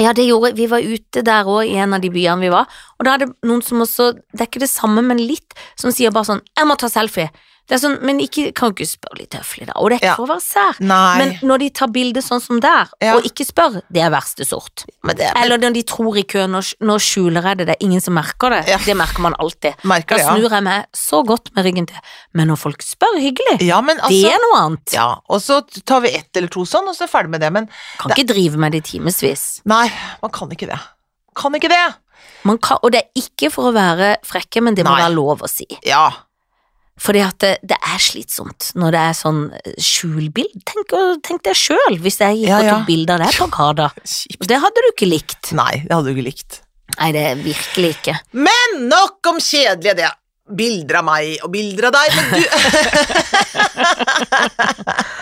[SPEAKER 1] Ja, det gjorde Vi var ute der òg, i en av de byene vi var. Og da er det noen som også Det er ikke det samme, men litt, som sier bare sånn 'Jeg må ta selfie'. Det er sånn, Men ikke, kan ikke spørre litt høflig, da. Og det er ikke
[SPEAKER 2] Ja.
[SPEAKER 1] for å være sær.
[SPEAKER 2] Nei.
[SPEAKER 1] Men når de tar bilde sånn som der,
[SPEAKER 2] Ja.
[SPEAKER 1] og ikke spør, det er verste sort.
[SPEAKER 2] Men det
[SPEAKER 1] Eller når de tror i kø, når, når skjuler jeg det, det er ingen som merker det.
[SPEAKER 2] Ja.
[SPEAKER 1] Det merker man alltid. Da
[SPEAKER 2] merker det, ja.
[SPEAKER 1] snur jeg meg så godt med ryggen til. Men når folk spør hyggelig,
[SPEAKER 2] Ja, men
[SPEAKER 1] det
[SPEAKER 2] altså
[SPEAKER 1] er noe annet.
[SPEAKER 2] ja, og så tar vi ett eller to sånn, og så er vi ferdig med det. Men
[SPEAKER 1] Kan ikke drive med det i timevis.
[SPEAKER 2] nei, man kan ikke det. Kan ikke det!
[SPEAKER 1] Man kan, og det er ikke for å være frekke, men det må
[SPEAKER 2] Nei.
[SPEAKER 1] være lov å si.
[SPEAKER 2] Ja.
[SPEAKER 1] Fordi at det, det er slitsomt når det er sånn eh, skjulbild. Tenk, å- tenk deg sjøl hvis jeg gikk
[SPEAKER 2] Ja,
[SPEAKER 1] og
[SPEAKER 2] ja.
[SPEAKER 1] tok bilde av deg på Kada.
[SPEAKER 2] Kjipt.
[SPEAKER 1] Og det hadde du ikke likt.
[SPEAKER 2] Nei, det hadde du ikke likt.
[SPEAKER 1] Nei, det er virkelig ikke.
[SPEAKER 2] Men nok om kjedelige det. Bilder av meg og bilder av deg, men du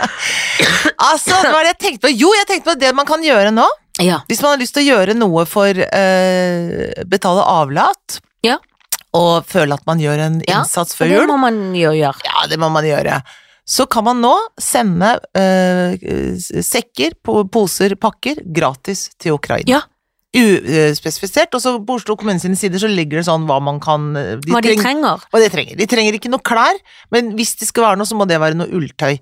[SPEAKER 2] Altså, hva var det jeg tenkte på? Jo, jeg tenkte på det man kan gjøre nå.
[SPEAKER 1] Ja.
[SPEAKER 2] Hvis man har lyst til å gjøre noe for eh, betale avlat,
[SPEAKER 1] Ja.
[SPEAKER 2] og føle at man gjør en
[SPEAKER 1] Ja,
[SPEAKER 2] innsats
[SPEAKER 1] Og
[SPEAKER 2] før
[SPEAKER 1] det
[SPEAKER 2] jul,
[SPEAKER 1] må man jo gjøre.
[SPEAKER 2] ja, det må man gjøre. Så kan man nå sende eh, s- sekker, po- poser, pakker gratis til Ukraina.
[SPEAKER 1] Ja.
[SPEAKER 2] Uspesifisert. Og så på Oslo kommune sine sider så ligger det sånn hva man kan eh, de
[SPEAKER 1] Hva de
[SPEAKER 2] treng-
[SPEAKER 1] trenger.
[SPEAKER 2] Hva de trenger. De trenger ikke noe klær, men hvis det skal være noe, så må det være noe ulltøy.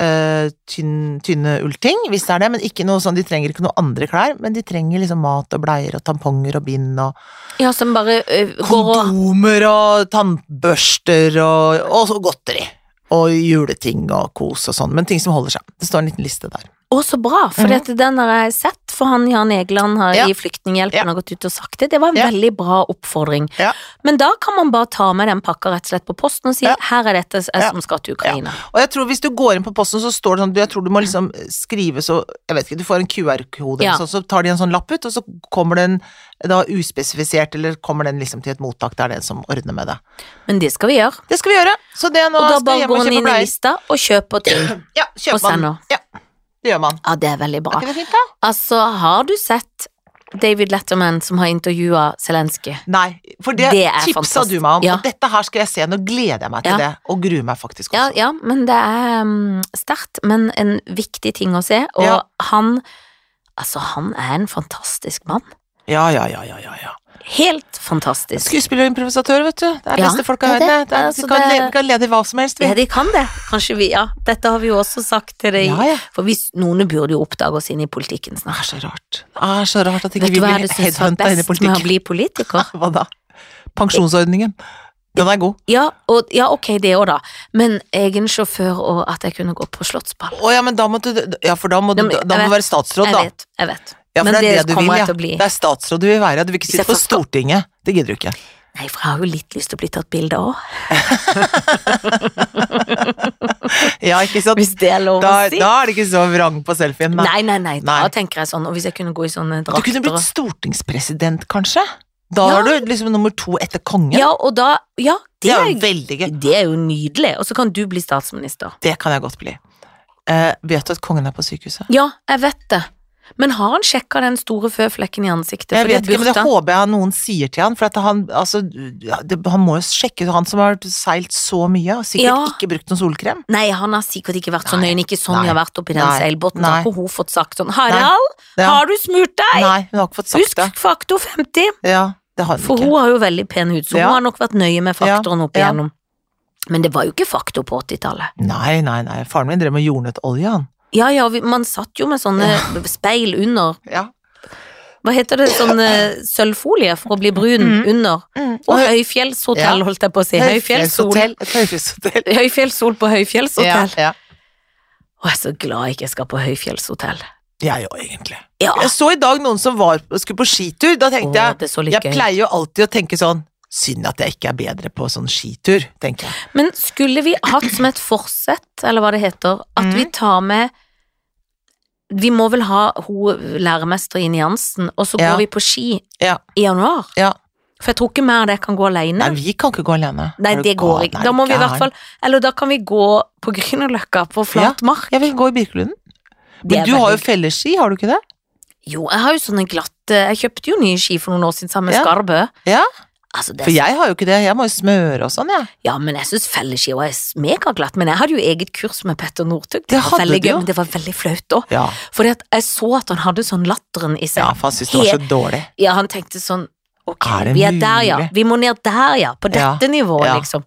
[SPEAKER 2] Eh, tynn, tynne ullting, hvis det er det, men ikke noe sånn, de trenger ikke noe andre klær. Men de trenger liksom mat og bleier og tamponger og bind og
[SPEAKER 1] Ja, som bare eh, går og
[SPEAKER 2] Kondomer og tannbørster og, og så godteri. Og juleting og kos og sånn, men ting som holder seg. Det står en liten liste der.
[SPEAKER 1] Å, så bra, for den har jeg sett, for han Jan Egeland har,
[SPEAKER 2] Mhm. Ja.
[SPEAKER 1] i Flyktninghjelpen
[SPEAKER 2] Ja.
[SPEAKER 1] har gått ut og sagt det. Det var en
[SPEAKER 2] Ja.
[SPEAKER 1] veldig bra oppfordring.
[SPEAKER 2] Ja.
[SPEAKER 1] Men da kan man bare ta med den pakka rett og slett på posten og si
[SPEAKER 2] Ja.
[SPEAKER 1] her er dette jeg
[SPEAKER 2] Ja.
[SPEAKER 1] som skal til Ukraina.
[SPEAKER 2] Og jeg tror hvis du går inn på posten, så står det sånn du, Jeg tror du må liksom skrive så Jeg vet ikke, du får en QR-kode,
[SPEAKER 1] Ja.
[SPEAKER 2] eller sånn, så tar de en sånn lapp ut, og så kommer den da uspesifisert, eller kommer den liksom til et mottak der det er en som ordner med det.
[SPEAKER 1] Men det skal vi gjøre.
[SPEAKER 2] Det skal vi gjøre. Så det er nå
[SPEAKER 1] Og da
[SPEAKER 2] skal jeg
[SPEAKER 1] bare
[SPEAKER 2] hjem og
[SPEAKER 1] går han
[SPEAKER 2] kjøpe
[SPEAKER 1] inn i
[SPEAKER 2] bleier.
[SPEAKER 1] lista og kjøper ting.
[SPEAKER 2] Ja,
[SPEAKER 1] og
[SPEAKER 2] kjøper man.
[SPEAKER 1] sender. Ah.
[SPEAKER 2] Ja, det gjør man.
[SPEAKER 1] Ja, det er veldig
[SPEAKER 2] Er
[SPEAKER 1] bra.
[SPEAKER 2] ikke det fint, da?
[SPEAKER 1] Altså, har du sett David Letterman som har intervjua Zelenskyj?
[SPEAKER 2] Nei, for det,
[SPEAKER 1] Det er
[SPEAKER 2] tipsa
[SPEAKER 1] fantastisk.
[SPEAKER 2] du meg om,
[SPEAKER 1] Ja.
[SPEAKER 2] og dette her skal jeg se. Nå gleder jeg meg
[SPEAKER 1] Ja.
[SPEAKER 2] til det, og gruer meg faktisk
[SPEAKER 1] Ja,
[SPEAKER 2] også.
[SPEAKER 1] ja, men det er um, sterkt, men en viktig ting å se. Og
[SPEAKER 2] Ja.
[SPEAKER 1] han Altså, han er en fantastisk mann.
[SPEAKER 2] Ja, ja, ja, ja, ja, ja.
[SPEAKER 1] Helt fantastisk.
[SPEAKER 2] Skuespiller og improvisatør, vet du. Det er
[SPEAKER 1] Ja,
[SPEAKER 2] beste folka
[SPEAKER 1] det er
[SPEAKER 2] her.
[SPEAKER 1] det.
[SPEAKER 2] Det er-
[SPEAKER 1] Altså,
[SPEAKER 2] Vi kan,
[SPEAKER 1] det-
[SPEAKER 2] le- vi kan lede i hva som helst, vi.
[SPEAKER 1] Ja, de kan det. Kanskje vi, ja. Dette har vi jo også sagt til deg.
[SPEAKER 2] Ja, ja.
[SPEAKER 1] For hvis noen burde jo oppdage oss inn i politikken
[SPEAKER 2] Det
[SPEAKER 1] snart.
[SPEAKER 2] er så rart. Det er så rart at ikke
[SPEAKER 1] Vet
[SPEAKER 2] vi
[SPEAKER 1] du hva
[SPEAKER 2] blir
[SPEAKER 1] jeg synes var
[SPEAKER 2] headhunta inn i
[SPEAKER 1] best med å
[SPEAKER 2] politikken.
[SPEAKER 1] bli politiker?
[SPEAKER 2] Hva da? Pensjonsordningen. Den er god.
[SPEAKER 1] Ja, og, ja ok, det òg, da. Men egen sjåfør og at jeg kunne gå på slottsball.
[SPEAKER 2] Å ja, men da må du Ja, for da må du
[SPEAKER 1] Nei, men
[SPEAKER 2] da må
[SPEAKER 1] jeg
[SPEAKER 2] du
[SPEAKER 1] vet.
[SPEAKER 2] være statsråd,
[SPEAKER 1] Jeg
[SPEAKER 2] da.
[SPEAKER 1] vet. jeg vet
[SPEAKER 2] Ja, for
[SPEAKER 1] Men
[SPEAKER 2] det er det du vil,
[SPEAKER 1] kommer jeg
[SPEAKER 2] ja.
[SPEAKER 1] til å bli.
[SPEAKER 2] Det er statsråd du vil være. Du vil ikke
[SPEAKER 1] Hvis jeg
[SPEAKER 2] sitte på
[SPEAKER 1] først skal-
[SPEAKER 2] Stortinget. Det gidder du ikke.
[SPEAKER 1] Nei, for jeg har jo litt lyst til å bli tatt bilde av òg.
[SPEAKER 2] Ja, ikke sant?
[SPEAKER 1] Hvis det er lov å
[SPEAKER 2] Da,
[SPEAKER 1] si.
[SPEAKER 2] da er det ikke så vrang på selfien.
[SPEAKER 1] Nei, nei, nei, da
[SPEAKER 2] Nei.
[SPEAKER 1] tenker jeg sånn, og hvis jeg kunne gå i sånne
[SPEAKER 2] Du kunne
[SPEAKER 1] drakter
[SPEAKER 2] blitt
[SPEAKER 1] og-
[SPEAKER 2] stortingspresident, kanskje? Da
[SPEAKER 1] Ja.
[SPEAKER 2] er du liksom nummer to etter kongen.
[SPEAKER 1] Ja, og da, ja, det
[SPEAKER 2] det
[SPEAKER 1] er,
[SPEAKER 2] er jo veldig gøy.
[SPEAKER 1] det er jo nydelig, og så kan du bli statsminister.
[SPEAKER 2] Det kan jeg godt bli. Eh, vet du at kongen er på sykehuset?
[SPEAKER 1] Ja, jeg vet det. Men har han sjekka den store føflekken i ansiktet?
[SPEAKER 2] Jeg
[SPEAKER 1] For det
[SPEAKER 2] vet ikke, men
[SPEAKER 1] burde
[SPEAKER 2] det
[SPEAKER 1] han.
[SPEAKER 2] håper jeg noen sier til han, for at han, altså, ja, det, han må jo sjekke Han som har seilt så mye, og sikkert
[SPEAKER 1] Ja.
[SPEAKER 2] ikke brukt noen solkrem.
[SPEAKER 1] Nei, han har sikkert ikke vært så
[SPEAKER 2] Nei,
[SPEAKER 1] nøye, ikke sånn
[SPEAKER 2] nei,
[SPEAKER 1] jeg har vært oppi den
[SPEAKER 2] nei,
[SPEAKER 1] seilbåten. Da har
[SPEAKER 2] nei.
[SPEAKER 1] ikke hun fått sagt sånn Harald,
[SPEAKER 2] Ja.
[SPEAKER 1] har du smurt deg?
[SPEAKER 2] Nei, hun har ikke fått sagt
[SPEAKER 1] Husk faktor 50,
[SPEAKER 2] det. Ja, det har hun
[SPEAKER 1] for
[SPEAKER 2] ikke.
[SPEAKER 1] hun har jo veldig pen hud, så
[SPEAKER 2] Ja.
[SPEAKER 1] hun har nok vært nøye med
[SPEAKER 2] Ja,
[SPEAKER 1] faktoren opp
[SPEAKER 2] ja.
[SPEAKER 1] igjennom. Men det var jo ikke faktor på 80-tallet.
[SPEAKER 2] Nei, nei, nei. Faren min drev med jordnøttolje, han.
[SPEAKER 1] Ja, ja, vi, man satt jo med sånne speil under
[SPEAKER 2] Ja.
[SPEAKER 1] Hva heter det, sånn eh, sølvfolie for å bli brun
[SPEAKER 2] Mhm.
[SPEAKER 1] under
[SPEAKER 2] Mm.
[SPEAKER 1] Og høyfjellshotell,
[SPEAKER 2] Ja.
[SPEAKER 1] holdt jeg på å si Høyfjellssol
[SPEAKER 2] Høyfjellshotell. Et høyfjellshotell.
[SPEAKER 1] Høyfjellssol på
[SPEAKER 2] Ja,
[SPEAKER 1] høyfjellshotell
[SPEAKER 2] ja.
[SPEAKER 1] Og jeg er så glad jeg ikke skal på høyfjellshotell
[SPEAKER 2] Jeg òg, egentlig.
[SPEAKER 1] Ja,
[SPEAKER 2] Jeg så i dag noen som var, skulle på skitur. Da
[SPEAKER 1] Åh,
[SPEAKER 2] tenkte jeg
[SPEAKER 1] Ah. det er så litt
[SPEAKER 2] Jeg
[SPEAKER 1] gøy
[SPEAKER 2] pleier jo alltid å tenke sånn Synd at jeg ikke er bedre på sånn skitur, tenker jeg.
[SPEAKER 1] Men
[SPEAKER 2] Mm.
[SPEAKER 1] skulle vi hatt som et forsett, eller hva det heter At
[SPEAKER 2] Mhm.
[SPEAKER 1] vi tar med Vi må vel ha hun læremester Ine Jansen, og så
[SPEAKER 2] Ja.
[SPEAKER 1] går vi på ski
[SPEAKER 2] Ja.
[SPEAKER 1] i januar.
[SPEAKER 2] Ja.
[SPEAKER 1] For jeg tror ikke mer det kan gå alene.
[SPEAKER 2] Nei, vi kan ikke gå alene.
[SPEAKER 1] Nei,
[SPEAKER 2] Er du
[SPEAKER 1] det
[SPEAKER 2] gal?
[SPEAKER 1] går ikke.
[SPEAKER 2] Er
[SPEAKER 1] Da
[SPEAKER 2] du
[SPEAKER 1] må vi i hvert
[SPEAKER 2] gæren?
[SPEAKER 1] fall Eller da kan vi gå på Grünerløkka, på flat mark.
[SPEAKER 2] Jeg vil gå i Birkelunden.
[SPEAKER 1] Det er
[SPEAKER 2] Men du har jo
[SPEAKER 1] veldig-
[SPEAKER 2] felleski, har du ikke det?
[SPEAKER 1] Jo, jeg har jo sånne glatte Jeg kjøpte jo nye ski for noen år siden sammen med
[SPEAKER 2] Ja.
[SPEAKER 1] Skarbø.
[SPEAKER 2] Ja.
[SPEAKER 1] Altså, det
[SPEAKER 2] For jeg har jo ikke det. Jeg må jo smøre og sånn, jeg.
[SPEAKER 1] Ja, men jeg syns felleski var megaglatt. Men jeg hadde jo eget kurs med Petter Northug.
[SPEAKER 2] Det
[SPEAKER 1] var
[SPEAKER 2] hadde
[SPEAKER 1] veldig
[SPEAKER 2] du
[SPEAKER 1] gøy,
[SPEAKER 2] jo.
[SPEAKER 1] Men det var veldig flaut òg.
[SPEAKER 2] Ja.
[SPEAKER 1] For jeg så at han hadde sånn latteren i seg.
[SPEAKER 2] ja,
[SPEAKER 1] Ja,
[SPEAKER 2] for han syntes det var så dårlig.
[SPEAKER 1] han tenkte sånn Ok,
[SPEAKER 2] Er det
[SPEAKER 1] vi er der, ja.
[SPEAKER 2] mulig?
[SPEAKER 1] Vi må ned der, ja. På
[SPEAKER 2] Ja,
[SPEAKER 1] dette nivået,
[SPEAKER 2] ja.
[SPEAKER 1] liksom.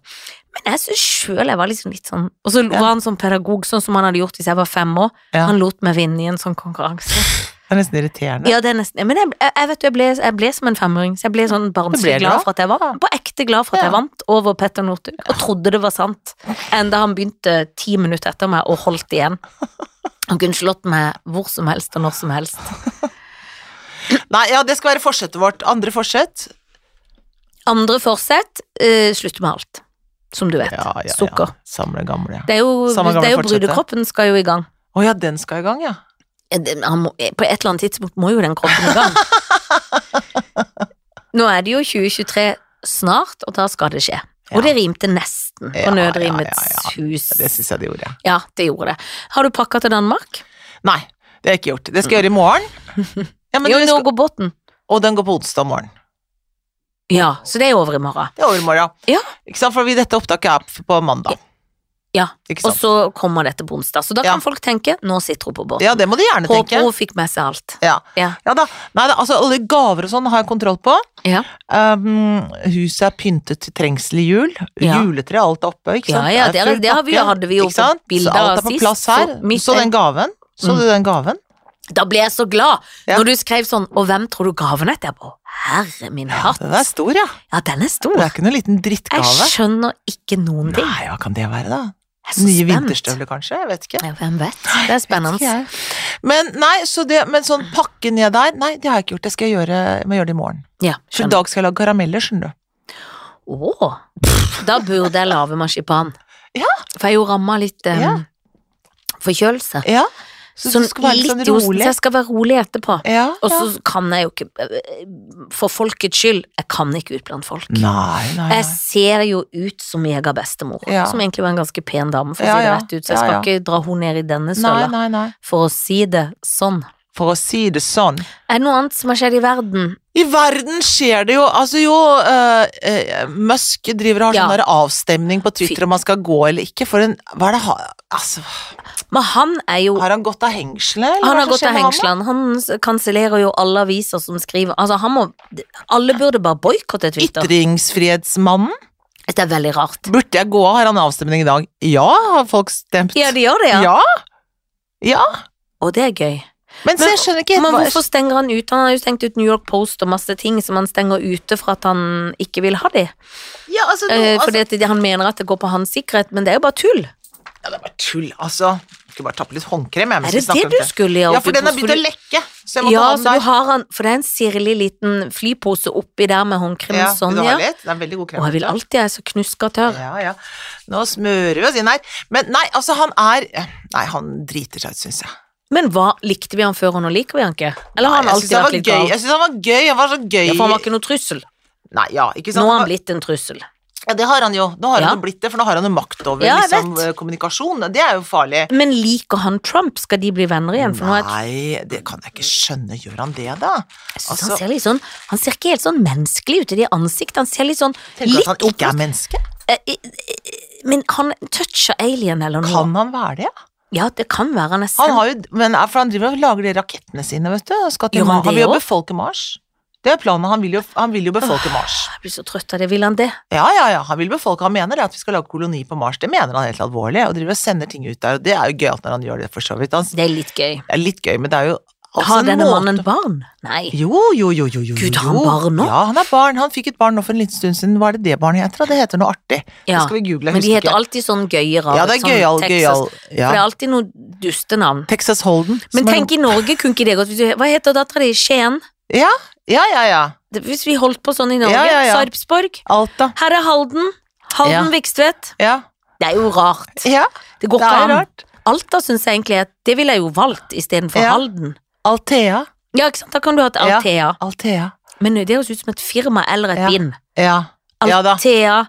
[SPEAKER 1] Men jeg syns sjøl jeg var liksom litt sånn Og så
[SPEAKER 2] Ja.
[SPEAKER 1] var han sånn pedagog, sånn som han hadde gjort hvis jeg var fem år.
[SPEAKER 2] Ja.
[SPEAKER 1] Han lot meg vinne i en sånn konkurranse.
[SPEAKER 2] Det er nesten irriterende.
[SPEAKER 1] Ja, det er nesten Men jeg, jeg, jeg vet jo, jeg ble, jeg ble som en femåring, så jeg ble sånn barnslig
[SPEAKER 2] Du ble
[SPEAKER 1] glad
[SPEAKER 2] glad?
[SPEAKER 1] for at jeg vant. På ekte glad for at
[SPEAKER 2] Ja.
[SPEAKER 1] jeg vant over Petter Northug, og trodde det var sant. Enda han begynte ti minutter etter meg og holdt igjen. Han kunne slått meg hvor som helst og når som helst.
[SPEAKER 2] Nei, ja, det skal være forsettet vårt. Andre forsett.
[SPEAKER 1] Andre forsett eh, slutte med alt, som du vet.
[SPEAKER 2] Ja, ja,
[SPEAKER 1] Sukker.
[SPEAKER 2] Ja. Samle gamle, ja.
[SPEAKER 1] Det er jo,
[SPEAKER 2] Samme gamle
[SPEAKER 1] det er jo
[SPEAKER 2] fortsette.
[SPEAKER 1] brudekroppen skal jo i gang.
[SPEAKER 2] Å ja, den skal i gang, ja.
[SPEAKER 1] Eh, det- Han må, eh, på et eller annet tidspunkt må jo den kroppen i gang. Nå er det jo 2023 snart, og da skal det skje. Og
[SPEAKER 2] Ja.
[SPEAKER 1] det rimte nesten på
[SPEAKER 2] Ja,
[SPEAKER 1] Nødrimets
[SPEAKER 2] ja, ja,
[SPEAKER 1] hus.
[SPEAKER 2] Det syns jeg det gjorde, ja.
[SPEAKER 1] Ja, det gjorde det. Har du pakka til Danmark?
[SPEAKER 2] Nei, det har jeg ikke gjort. Det skal jeg gjøre i morgen. Ja, men
[SPEAKER 1] jo,
[SPEAKER 2] det
[SPEAKER 1] nå
[SPEAKER 2] skal...
[SPEAKER 1] går båten.
[SPEAKER 2] Og den går på onsdag morgen.
[SPEAKER 1] Ja, så det er over i morgen.
[SPEAKER 2] Det er overmorgen.
[SPEAKER 1] Ja.
[SPEAKER 2] Ikke sant, for vi- dette opptaket er f- på mandag.
[SPEAKER 1] Ja,
[SPEAKER 2] Ikke
[SPEAKER 1] Og
[SPEAKER 2] sant.
[SPEAKER 1] så kommer dette på onsdag, så da
[SPEAKER 2] Ja.
[SPEAKER 1] kan folk tenke nå sitter hun på båten.
[SPEAKER 2] Ja, det må du gjerne tenke.
[SPEAKER 1] Håper hun fikk med seg alt.
[SPEAKER 2] Ja.
[SPEAKER 1] Ja.
[SPEAKER 2] ja da. Nei, da, altså alle gaver og sånn har jeg kontroll på.
[SPEAKER 1] Ja.
[SPEAKER 2] Um, huset er pyntet til trengsel i jul.
[SPEAKER 1] Ja.
[SPEAKER 2] Juletre, alt er oppe, ikke
[SPEAKER 1] Ja,
[SPEAKER 2] sant.
[SPEAKER 1] ja,
[SPEAKER 2] er
[SPEAKER 1] det er-
[SPEAKER 2] full
[SPEAKER 1] det har vi jo-
[SPEAKER 2] pakke,
[SPEAKER 1] hadde vi jo
[SPEAKER 2] ikke sant?
[SPEAKER 1] fått bilder
[SPEAKER 2] Så alt
[SPEAKER 1] av
[SPEAKER 2] er på
[SPEAKER 1] sist,
[SPEAKER 2] plass her.
[SPEAKER 1] så midt
[SPEAKER 2] Så
[SPEAKER 1] en-
[SPEAKER 2] den gaven. Så
[SPEAKER 1] Mm.
[SPEAKER 2] du den gaven?
[SPEAKER 1] Da ble jeg så glad
[SPEAKER 2] Ja.
[SPEAKER 1] når du skrev sånn 'Og hvem tror du gaven er?' til?" Jeg bare Herre min hatt.
[SPEAKER 2] Den er stor, ja.
[SPEAKER 1] Ja, den er
[SPEAKER 2] Det
[SPEAKER 1] Ah, stor.
[SPEAKER 2] er ikke noen liten drittgave.
[SPEAKER 1] Jeg skjønner ikke noen ting.
[SPEAKER 2] Nei, hva kan det være, da?
[SPEAKER 1] Jeg er så
[SPEAKER 2] Nye
[SPEAKER 1] spent.
[SPEAKER 2] vinterstøvler, kanskje? Jeg vet ikke.
[SPEAKER 1] Ja, hvem vet? Det er
[SPEAKER 2] Vet ikke
[SPEAKER 1] spennende.
[SPEAKER 2] jeg. Men nei, så det, men sånn pakke ned der, nei, det har jeg ikke gjort. Det skal jeg gjøre, jeg må gjøre det i morgen.
[SPEAKER 1] Ja,
[SPEAKER 2] For i
[SPEAKER 1] skjønner.
[SPEAKER 2] dag skal jeg lage karameller, skjønner du.
[SPEAKER 1] Å, da burde jeg lage marsipan.
[SPEAKER 2] Ja.
[SPEAKER 1] For jeg er jo ramma litt eh,
[SPEAKER 2] Ja.
[SPEAKER 1] forkjølelse.
[SPEAKER 2] Ja. Så
[SPEAKER 1] Sånn
[SPEAKER 2] det skal være litt sånn
[SPEAKER 1] litt i osten,
[SPEAKER 2] rolig.
[SPEAKER 1] så jeg skal være rolig etterpå.
[SPEAKER 2] Ja,
[SPEAKER 1] Og
[SPEAKER 2] ja.
[SPEAKER 1] så kan jeg jo ikke eh, For folkets skyld, jeg kan ikke ut blant folk.
[SPEAKER 2] Nei, nei, nei.
[SPEAKER 1] Jeg ser jo ut som mega bestemor,
[SPEAKER 2] Ja.
[SPEAKER 1] som egentlig var en ganske pen dame, for å
[SPEAKER 2] Ja,
[SPEAKER 1] si det
[SPEAKER 2] ja.
[SPEAKER 1] rett ut, så jeg skal
[SPEAKER 2] Ja, ja.
[SPEAKER 1] ikke dra henne ned i denne
[SPEAKER 2] Nei,
[SPEAKER 1] søla,
[SPEAKER 2] nei, nei.
[SPEAKER 1] for å si det sånn.
[SPEAKER 2] For å si det sånn.
[SPEAKER 1] Er det noe annet som har skjedd i verden?
[SPEAKER 2] I verden skjer det jo Altså jo, eh, eh, Musk driver og har
[SPEAKER 1] Ja.
[SPEAKER 2] sånn der avstemning på Twitter
[SPEAKER 1] Fy.
[SPEAKER 2] om han skal gå eller ikke. For en Hva er det ha, altså,
[SPEAKER 1] Men han er jo
[SPEAKER 2] Har han gått av hengselet? eller
[SPEAKER 1] Han
[SPEAKER 2] hva
[SPEAKER 1] har
[SPEAKER 2] som
[SPEAKER 1] gått
[SPEAKER 2] skjer
[SPEAKER 1] av
[SPEAKER 2] med han da?
[SPEAKER 1] hengslene. Han s- kansellerer jo alle aviser som skriver Altså, han må Alle burde bare boikotte Twitter.
[SPEAKER 2] Ytringsfrihetsmannen?
[SPEAKER 1] Det er veldig rart.
[SPEAKER 2] Burde jeg gå av? Har han avstemning i dag? Ja, har folk stemt?
[SPEAKER 1] Ja, de gjør det, ja.
[SPEAKER 2] Ja. Ja.
[SPEAKER 1] Og det er gøy.
[SPEAKER 2] Men, så
[SPEAKER 1] Men-
[SPEAKER 2] jeg skjønner ikke
[SPEAKER 1] Men
[SPEAKER 2] helt hva
[SPEAKER 1] hvorfor stenger han ut? Han har jo stengt ut New York Post og masse ting som han stenger ute for at han ikke vil ha de.
[SPEAKER 2] ja, altså, nå,
[SPEAKER 1] Eh,
[SPEAKER 2] altså,
[SPEAKER 1] Fordi at de- han mener at det går på hans sikkerhet, men det er jo bare tull.
[SPEAKER 2] ja, Det er bare tull, altså. Jeg Skulle bare tappe litt håndkrem. Jeg,
[SPEAKER 1] Er
[SPEAKER 2] mens
[SPEAKER 1] det
[SPEAKER 2] vi snakker
[SPEAKER 1] det
[SPEAKER 2] om
[SPEAKER 1] du skulle gjøre?
[SPEAKER 2] Ja, for den har begynt å lekke. Så jeg må ta
[SPEAKER 1] Ja,
[SPEAKER 2] den
[SPEAKER 1] så du
[SPEAKER 2] der.
[SPEAKER 1] har han For det er en sirlig liten flypose oppi der med håndkrem
[SPEAKER 2] Ja,
[SPEAKER 1] og sånn,
[SPEAKER 2] vil du ha
[SPEAKER 1] ja.
[SPEAKER 2] litt? Det er en veldig god krem.
[SPEAKER 1] Og jeg vil alltid jeg er så knuska tørr.
[SPEAKER 2] Ja, ja. Nå smører vi oss inn her. Men nei, altså, han er Nei, han driter seg ut, syns jeg.
[SPEAKER 1] Men hva, likte vi han før, og nå liker vi han ikke? Eller har han
[SPEAKER 2] Nei, jeg
[SPEAKER 1] alltid
[SPEAKER 2] syns han
[SPEAKER 1] vært
[SPEAKER 2] var
[SPEAKER 1] litt
[SPEAKER 2] gøy.
[SPEAKER 1] gal?
[SPEAKER 2] Jeg syns han var gøy. Han var så gøy.
[SPEAKER 1] Ja, for han var ikke noe trussel.
[SPEAKER 2] Nei, ja, ikke sant?
[SPEAKER 1] Nå har
[SPEAKER 2] Han
[SPEAKER 1] han blitt en trussel.
[SPEAKER 2] var- Ja, det har han jo. Nå har
[SPEAKER 1] Ja.
[SPEAKER 2] han jo blitt det, for nå har han jo makt over
[SPEAKER 1] Ja, jeg
[SPEAKER 2] liksom,
[SPEAKER 1] vet.
[SPEAKER 2] eh, kommunikasjon. Det er jo farlig.
[SPEAKER 1] Men liker han Trump? Skal de bli venner igjen? For Mm, nå er
[SPEAKER 2] Nei, det kan jeg ikke skjønne. Gjør han det, da?
[SPEAKER 1] jeg synes
[SPEAKER 2] altså-
[SPEAKER 1] han, ser litt sånn, han ser ikke helt sånn menneskelig ut i det ansiktet. Han ser litt sånn
[SPEAKER 2] Tenker
[SPEAKER 1] litt
[SPEAKER 2] at han ikke er menneske?
[SPEAKER 1] Eh, eh, eh, Men han toucher alien eller noe.
[SPEAKER 2] Kan han være det?
[SPEAKER 1] Ja, det kan være han er
[SPEAKER 2] Han
[SPEAKER 1] sendt.
[SPEAKER 2] har jo, men er- for han driver og lager de rakettene sine, vet du. og Skal til
[SPEAKER 1] Gjør han
[SPEAKER 2] Mars. Han
[SPEAKER 1] det
[SPEAKER 2] vil jo
[SPEAKER 1] også?
[SPEAKER 2] befolke Mars. Det er planen. Han vil jo, han vil jo befolke Mars.
[SPEAKER 1] Jeg blir så trøtt av det. Vil han det?
[SPEAKER 2] Ja, ja, ja. Han vil befolke. Han mener det at vi skal lage koloni på Mars. Det mener han helt alvorlig. Og driver og sender ting ut der. Og det er jo gøyalt når han gjør det, for så vidt. Han,
[SPEAKER 1] Det er litt gøy.
[SPEAKER 2] det er litt gøy, men det er jo altså
[SPEAKER 1] har
[SPEAKER 2] en
[SPEAKER 1] denne
[SPEAKER 2] måte-
[SPEAKER 1] mannen barn? Nei.
[SPEAKER 2] Jo, jo, jo, jo, jo.
[SPEAKER 1] Gud,
[SPEAKER 2] jo.
[SPEAKER 1] har han barn nå?
[SPEAKER 2] Ja, han er barn. Han fikk et barn nå for en liten stund siden. Hva er det det barnet heter? da? Det heter noe artig. Det
[SPEAKER 1] Ja.
[SPEAKER 2] skal vi google. jeg
[SPEAKER 1] Men de
[SPEAKER 2] husker
[SPEAKER 1] heter
[SPEAKER 2] ikke.
[SPEAKER 1] alltid sånn gøye, rare.
[SPEAKER 2] Ja, det er
[SPEAKER 1] sånn
[SPEAKER 2] gøyal,
[SPEAKER 1] Texas- For
[SPEAKER 2] gøyal.
[SPEAKER 1] det
[SPEAKER 2] Ja.
[SPEAKER 1] er alltid noen dustenavn.
[SPEAKER 2] Texas Holden. som
[SPEAKER 1] Men
[SPEAKER 2] er
[SPEAKER 1] tenk i Norge kunne ikke det gått. Hvis du- Hva heter dattera di? Skien?
[SPEAKER 2] noe- Ja, ja, ja. ja.
[SPEAKER 1] Det- Hvis vi holdt på sånn i Norge.
[SPEAKER 2] Ja, ja, ja.
[SPEAKER 1] Sarpsborg.
[SPEAKER 2] Alta.
[SPEAKER 1] Her er Halden. Halden
[SPEAKER 2] Ja.
[SPEAKER 1] Vikstvedt.
[SPEAKER 2] Ja.
[SPEAKER 1] Det er jo rart.
[SPEAKER 2] ja.
[SPEAKER 1] Det går
[SPEAKER 2] Det
[SPEAKER 1] ikke an.
[SPEAKER 2] er rart.
[SPEAKER 1] Alta syns jeg egentlig at det ville jeg jo valgt istedenfor
[SPEAKER 2] Ja.
[SPEAKER 1] Halden.
[SPEAKER 2] Althea.
[SPEAKER 1] Ja, ikke sant? Da kan du ha et
[SPEAKER 2] Ja.
[SPEAKER 1] Althea.
[SPEAKER 2] Althea.
[SPEAKER 1] Men det høres ut som et firma eller et
[SPEAKER 2] Ja.
[SPEAKER 1] bind.
[SPEAKER 2] Ja. Ja da.
[SPEAKER 1] Althea.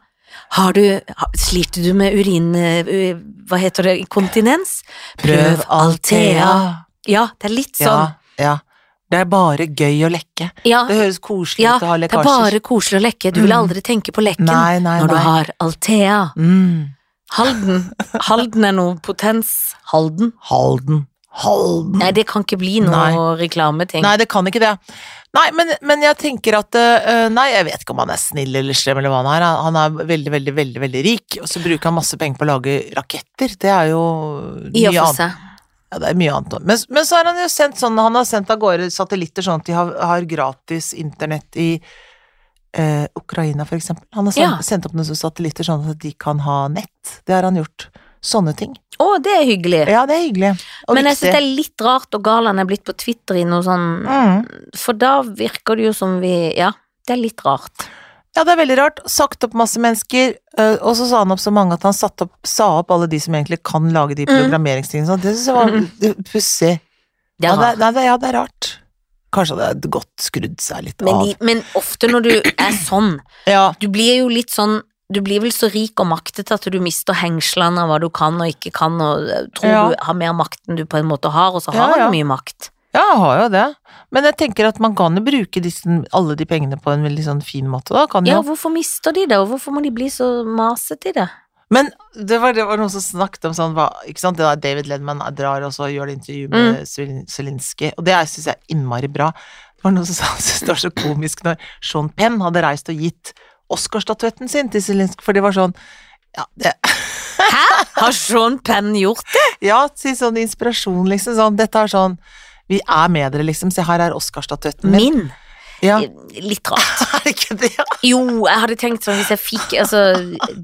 [SPEAKER 1] Har du, ha- sliter du med urin... eh, u- Hva heter det? Inkontinens? Prøv Althea. Ja, det er litt
[SPEAKER 2] Ja,
[SPEAKER 1] sånn.
[SPEAKER 2] ja. Det er bare gøy å lekke.
[SPEAKER 1] Ja,
[SPEAKER 2] Det høres koselig
[SPEAKER 1] Ja,
[SPEAKER 2] ut å ha
[SPEAKER 1] det er
[SPEAKER 2] lekkasjer.
[SPEAKER 1] bare koselig å lekke. Du vil
[SPEAKER 2] Mm.
[SPEAKER 1] aldri tenke på lekken
[SPEAKER 2] Nei, nei,
[SPEAKER 1] når du
[SPEAKER 2] nei.
[SPEAKER 1] har Althea.
[SPEAKER 2] Mm.
[SPEAKER 1] Halden. Halden er noe potens. Halden?
[SPEAKER 2] Halden. Halden.
[SPEAKER 1] Nei, det kan ikke bli noe
[SPEAKER 2] Nei.
[SPEAKER 1] reklameting.
[SPEAKER 2] Nei, det kan ikke det. Nei, men, men jeg tenker at øh, Nei, jeg vet ikke om han er snill eller slem eller hva han er. Han- Han er veldig, veldig, veldig veldig rik, og så bruker han masse penger på å lage raketter. Det er jo
[SPEAKER 1] I
[SPEAKER 2] mye
[SPEAKER 1] og for
[SPEAKER 2] annet.
[SPEAKER 1] seg.
[SPEAKER 2] Ja, det er mye annet. Men, men så har han jo sendt sånn Han har sendt av gårde satellitter sånn at de har, har gratis internett i eh, Ukraina, for eksempel. Han har sendt,
[SPEAKER 1] Ja.
[SPEAKER 2] sendt opp noen sånne satellitter sånn at de kan ha nett. Det har han gjort. Sånne ting.
[SPEAKER 1] Å, det er hyggelig.
[SPEAKER 2] Ja, det er hyggelig. Og
[SPEAKER 1] Men jeg
[SPEAKER 2] viktig.
[SPEAKER 1] syns det er litt rart og gal han er blitt på Twitter i noe sånn
[SPEAKER 2] Mm.
[SPEAKER 1] For da virker det jo som vi Ja, det er litt rart.
[SPEAKER 2] Ja, det er veldig rart. Sagt opp masse mennesker, øh, og så sa han opp så mange at han satt opp, sa opp alle de som egentlig kan lage de programmeringstingene. Sånn. Det syns jeg
[SPEAKER 1] Mm.
[SPEAKER 2] var pussig.
[SPEAKER 1] Det
[SPEAKER 2] Ja,
[SPEAKER 1] er
[SPEAKER 2] det
[SPEAKER 1] rart.
[SPEAKER 2] er- nei, det- ja, det er rart. Kanskje det hadde godt skrudd seg litt
[SPEAKER 1] Men,
[SPEAKER 2] av.
[SPEAKER 1] de, men ofte når du er sånn
[SPEAKER 2] ja,
[SPEAKER 1] Du blir jo litt sånn du blir vel så rik og maktet at du mister hengslene av hva du kan og ikke kan, og eh, tror
[SPEAKER 2] Ja.
[SPEAKER 1] du har mer makt enn du på en måte har, og så
[SPEAKER 2] Ja,
[SPEAKER 1] har han
[SPEAKER 2] ja.
[SPEAKER 1] mye makt.
[SPEAKER 2] ja, jeg har jo det. Men jeg tenker at man kan jo bruke disse, alle de pengene på en veldig sånn fin måte. Da kan
[SPEAKER 1] Ja,
[SPEAKER 2] jo
[SPEAKER 1] hvorfor mister de det, og hvorfor må de bli så masete i det?
[SPEAKER 2] Men det var, det var noen som snakket om sånn hva, Ikke sant, det der David Ledman drar og så gjør det intervju med mm. Zelenskyj, og det er- synes jeg er innmari bra. Det var noen som sa han syntes det var så komisk når Sean Penn hadde reist og gitt Oscarstatuetten sin til Zelenskyj, for det var sånn ja, det,
[SPEAKER 1] Hæ? Har Sean Penn gjort det?
[SPEAKER 2] ja, si sånn inspirasjon, liksom. Sånn, dette er sånn Vi er med dere, liksom. Se, her er Oscarstatuetten min.
[SPEAKER 1] Min?
[SPEAKER 2] Ja,
[SPEAKER 1] Litt rart.
[SPEAKER 2] er det ikke det?
[SPEAKER 1] Jo, jeg hadde tenkt sånn hvis jeg fikk altså,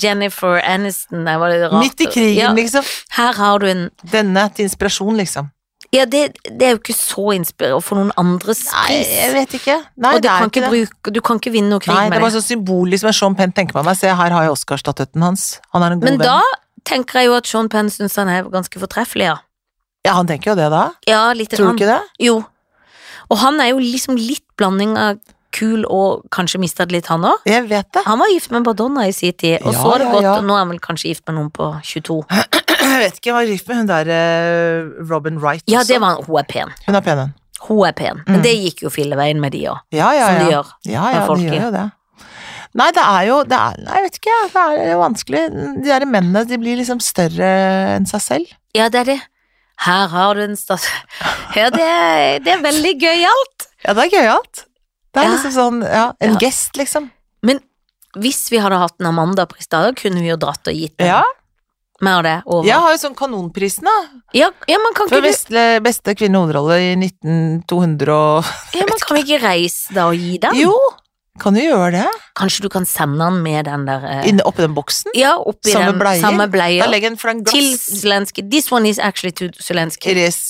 [SPEAKER 1] Jennifer Aniston det var litt rart.
[SPEAKER 2] Midt i krigen,
[SPEAKER 1] Ja,
[SPEAKER 2] liksom.
[SPEAKER 1] her har du en
[SPEAKER 2] Denne til inspirasjon, liksom.
[SPEAKER 1] Ja, det, det er jo ikke så inspirerende å få noen andres pris.
[SPEAKER 2] jeg vet ikke. Nei,
[SPEAKER 1] og du
[SPEAKER 2] det er
[SPEAKER 1] kan, ikke
[SPEAKER 2] det.
[SPEAKER 1] bruke, du kan ikke vinne noe krig
[SPEAKER 2] Nei, det
[SPEAKER 1] med
[SPEAKER 2] var
[SPEAKER 1] det.
[SPEAKER 2] sånn symbolisk som en Sean Penn tenker på meg. Se, her har jeg Oscar-statuetten hans. Han er en sånn god
[SPEAKER 1] Men
[SPEAKER 2] venn.
[SPEAKER 1] da tenker jeg jo at Sean Penn syns han er ganske fortreffelig, ja.
[SPEAKER 2] Ja, han tenker jo det da.
[SPEAKER 1] Ja, lite
[SPEAKER 2] Tror
[SPEAKER 1] grann.
[SPEAKER 2] du ikke det?
[SPEAKER 1] Jo. Og han er jo liksom litt blanding av kul og kanskje mistet litt, han òg.
[SPEAKER 2] Jeg vet det.
[SPEAKER 1] Han var gift med Madonna i sin tid, og
[SPEAKER 2] Ja,
[SPEAKER 1] så har det
[SPEAKER 2] ja,
[SPEAKER 1] gått,
[SPEAKER 2] ja.
[SPEAKER 1] og nå er han vel kanskje gift med noen på 22.
[SPEAKER 2] Jeg vet ikke, jeg var gift med hun der eh, Robin Wright
[SPEAKER 1] Ja, det
[SPEAKER 2] også.
[SPEAKER 1] var Hun er pen.
[SPEAKER 2] Hun er pen, hun.
[SPEAKER 1] Hun er pen. Men det gikk jo filleveien med de òg,
[SPEAKER 2] Ja, Mm. ja,
[SPEAKER 1] som de
[SPEAKER 2] ja.
[SPEAKER 1] gjør.
[SPEAKER 2] Ja, ja,
[SPEAKER 1] med folk
[SPEAKER 2] de
[SPEAKER 1] i.
[SPEAKER 2] gjør jo det. Nei, det er jo det er, Nei, jeg vet ikke, det er jo vanskelig. De der mennene, de blir liksom større enn seg selv.
[SPEAKER 1] Ja, det er det. Her har du en stas... Ja, det er, det er veldig gøyalt.
[SPEAKER 2] Ja, det er gøyalt. Det er
[SPEAKER 1] Ja.
[SPEAKER 2] liksom sånn, ja, en
[SPEAKER 1] Ja.
[SPEAKER 2] gest, liksom.
[SPEAKER 1] Men hvis vi hadde hatt en Amanda-pris da, da kunne vi jo dratt og gitt den.
[SPEAKER 2] Ja.
[SPEAKER 1] Mer av det over.
[SPEAKER 2] Jeg har jo sånn kanonprisen, da.
[SPEAKER 1] ja, ja, men kan
[SPEAKER 2] For
[SPEAKER 1] ikke,
[SPEAKER 2] beste, beste kvinnehovedrolle i 1900 og
[SPEAKER 1] du, ja, men kan vi ikke reise da og gi den?
[SPEAKER 2] Jo, kan du gjøre det?
[SPEAKER 1] Kanskje du kan sende den med den der eh,
[SPEAKER 2] Inne oppi den boksen?
[SPEAKER 1] Ja, oppi
[SPEAKER 2] Samme
[SPEAKER 1] den
[SPEAKER 2] bleier?
[SPEAKER 1] samme
[SPEAKER 2] Da
[SPEAKER 1] bleia.
[SPEAKER 2] legger den for en glass
[SPEAKER 1] Til Zelenskyj. This one is actually to Zelenskyj.
[SPEAKER 2] It is.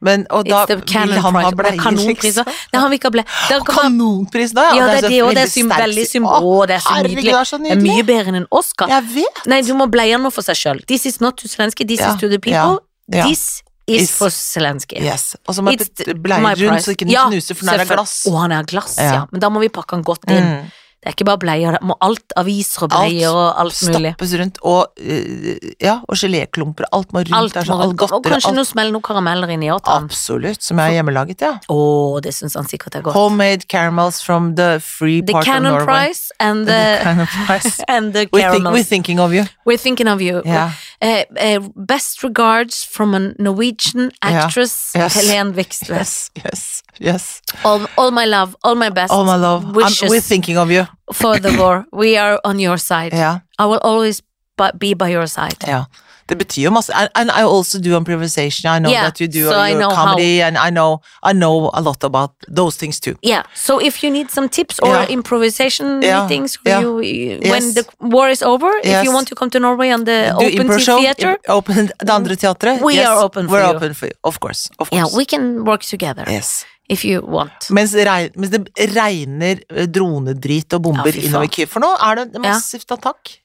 [SPEAKER 2] Men, og da
[SPEAKER 1] It's the
[SPEAKER 2] vil han ha bleier,
[SPEAKER 1] kanonpriser.
[SPEAKER 2] liksom.
[SPEAKER 1] Nei, han vil ikke ha bleie. Der kan han-
[SPEAKER 2] Kanonpris, da!
[SPEAKER 1] Ja, det er
[SPEAKER 2] så
[SPEAKER 1] det, og det er sym-
[SPEAKER 2] sterk-
[SPEAKER 1] veldig sym-
[SPEAKER 2] Å,
[SPEAKER 1] Å, det er så
[SPEAKER 2] Herregud,
[SPEAKER 1] nydelig.
[SPEAKER 2] det er så
[SPEAKER 1] Det er
[SPEAKER 2] nydelig!
[SPEAKER 1] mye bedre enn en Oscar.
[SPEAKER 2] Jeg vet!
[SPEAKER 1] Nei, du må bleie den for seg sjøl. This is not to Zelenskyj, this
[SPEAKER 2] Ja,
[SPEAKER 1] is to the people.
[SPEAKER 2] ja, ja.
[SPEAKER 1] This is,
[SPEAKER 2] Is-
[SPEAKER 1] for Zelenskyj.
[SPEAKER 2] Yes. Og så må jeg
[SPEAKER 1] It's
[SPEAKER 2] putte
[SPEAKER 1] my
[SPEAKER 2] bleier rundt,
[SPEAKER 1] prize.
[SPEAKER 2] så ikke den
[SPEAKER 1] Ja,
[SPEAKER 2] knuser, for den er av
[SPEAKER 1] selvfølgelig.
[SPEAKER 2] glass.
[SPEAKER 1] Å, han er av glass, ja.
[SPEAKER 2] Ja.
[SPEAKER 1] Men da må vi pakke han godt inn.
[SPEAKER 2] Mm.
[SPEAKER 1] Det er ikke bare bleier, det må alt aviser og
[SPEAKER 2] Alt
[SPEAKER 1] bleier og alt mulig.
[SPEAKER 2] Stappes rundt, og øh, ja, og geléklumper, alt må rundt
[SPEAKER 1] Alt
[SPEAKER 2] der,
[SPEAKER 1] må
[SPEAKER 2] sånn
[SPEAKER 1] rundt. Og
[SPEAKER 2] algotter
[SPEAKER 1] kanskje
[SPEAKER 2] alt.
[SPEAKER 1] noe smell noen karameller inni òg. Å,
[SPEAKER 2] Absolutt, som jeg har hjemmelaget, ja.
[SPEAKER 1] det syns han sikkert er godt.
[SPEAKER 2] Homemade caramels from the free
[SPEAKER 1] The
[SPEAKER 2] part of
[SPEAKER 1] Cannon
[SPEAKER 2] Norway.
[SPEAKER 1] Prize and
[SPEAKER 2] The
[SPEAKER 1] the,
[SPEAKER 2] Cannon Prize.
[SPEAKER 1] and the
[SPEAKER 2] We think, we're
[SPEAKER 1] Caramels.
[SPEAKER 2] thinking of you.
[SPEAKER 1] We're thinking of you.
[SPEAKER 2] Ja.
[SPEAKER 1] Eh, eh, best regards from a Norwegian
[SPEAKER 2] Ja.
[SPEAKER 1] actress,
[SPEAKER 2] Yes.
[SPEAKER 1] Helen Vikstvedt.
[SPEAKER 2] Yes, yes, yes.
[SPEAKER 1] All, all my love, all my best
[SPEAKER 2] All my love. I'm-
[SPEAKER 1] wishes
[SPEAKER 2] we're thinking of you.
[SPEAKER 1] for the war. We are on your side.
[SPEAKER 2] Ja,
[SPEAKER 1] I will always bu- be by your side.
[SPEAKER 2] ja. Det betyr jo masse. And, and I also do improvisation. I know
[SPEAKER 1] Yeah,
[SPEAKER 2] that you do
[SPEAKER 1] so I
[SPEAKER 2] your
[SPEAKER 1] know
[SPEAKER 2] comedy, and I know, I know a lot about those things too.
[SPEAKER 1] Yeah. So if you need some tips or
[SPEAKER 2] Yeah.
[SPEAKER 1] improvisation
[SPEAKER 2] Yeah.
[SPEAKER 1] meetings,
[SPEAKER 2] Yeah.
[SPEAKER 1] you, you- when
[SPEAKER 2] Yes.
[SPEAKER 1] the war is over, if
[SPEAKER 2] Yes.
[SPEAKER 1] you want to come to Norway on the
[SPEAKER 2] Do
[SPEAKER 1] open sea
[SPEAKER 2] impro-show,
[SPEAKER 1] theater,
[SPEAKER 2] imp- Open, det andre teatret.
[SPEAKER 1] We
[SPEAKER 2] yes,
[SPEAKER 1] are open for
[SPEAKER 2] we're
[SPEAKER 1] you.
[SPEAKER 2] open for you. Of course. Of
[SPEAKER 1] yeah,
[SPEAKER 2] course.
[SPEAKER 1] we can work together
[SPEAKER 2] yes.
[SPEAKER 1] if you want.
[SPEAKER 2] Mens, regn, mens det regner eh, dronedrit og bomber
[SPEAKER 1] Ja, fy faen.
[SPEAKER 2] innover Kyiv. For nå er det
[SPEAKER 1] Ja.
[SPEAKER 2] massivt attakk.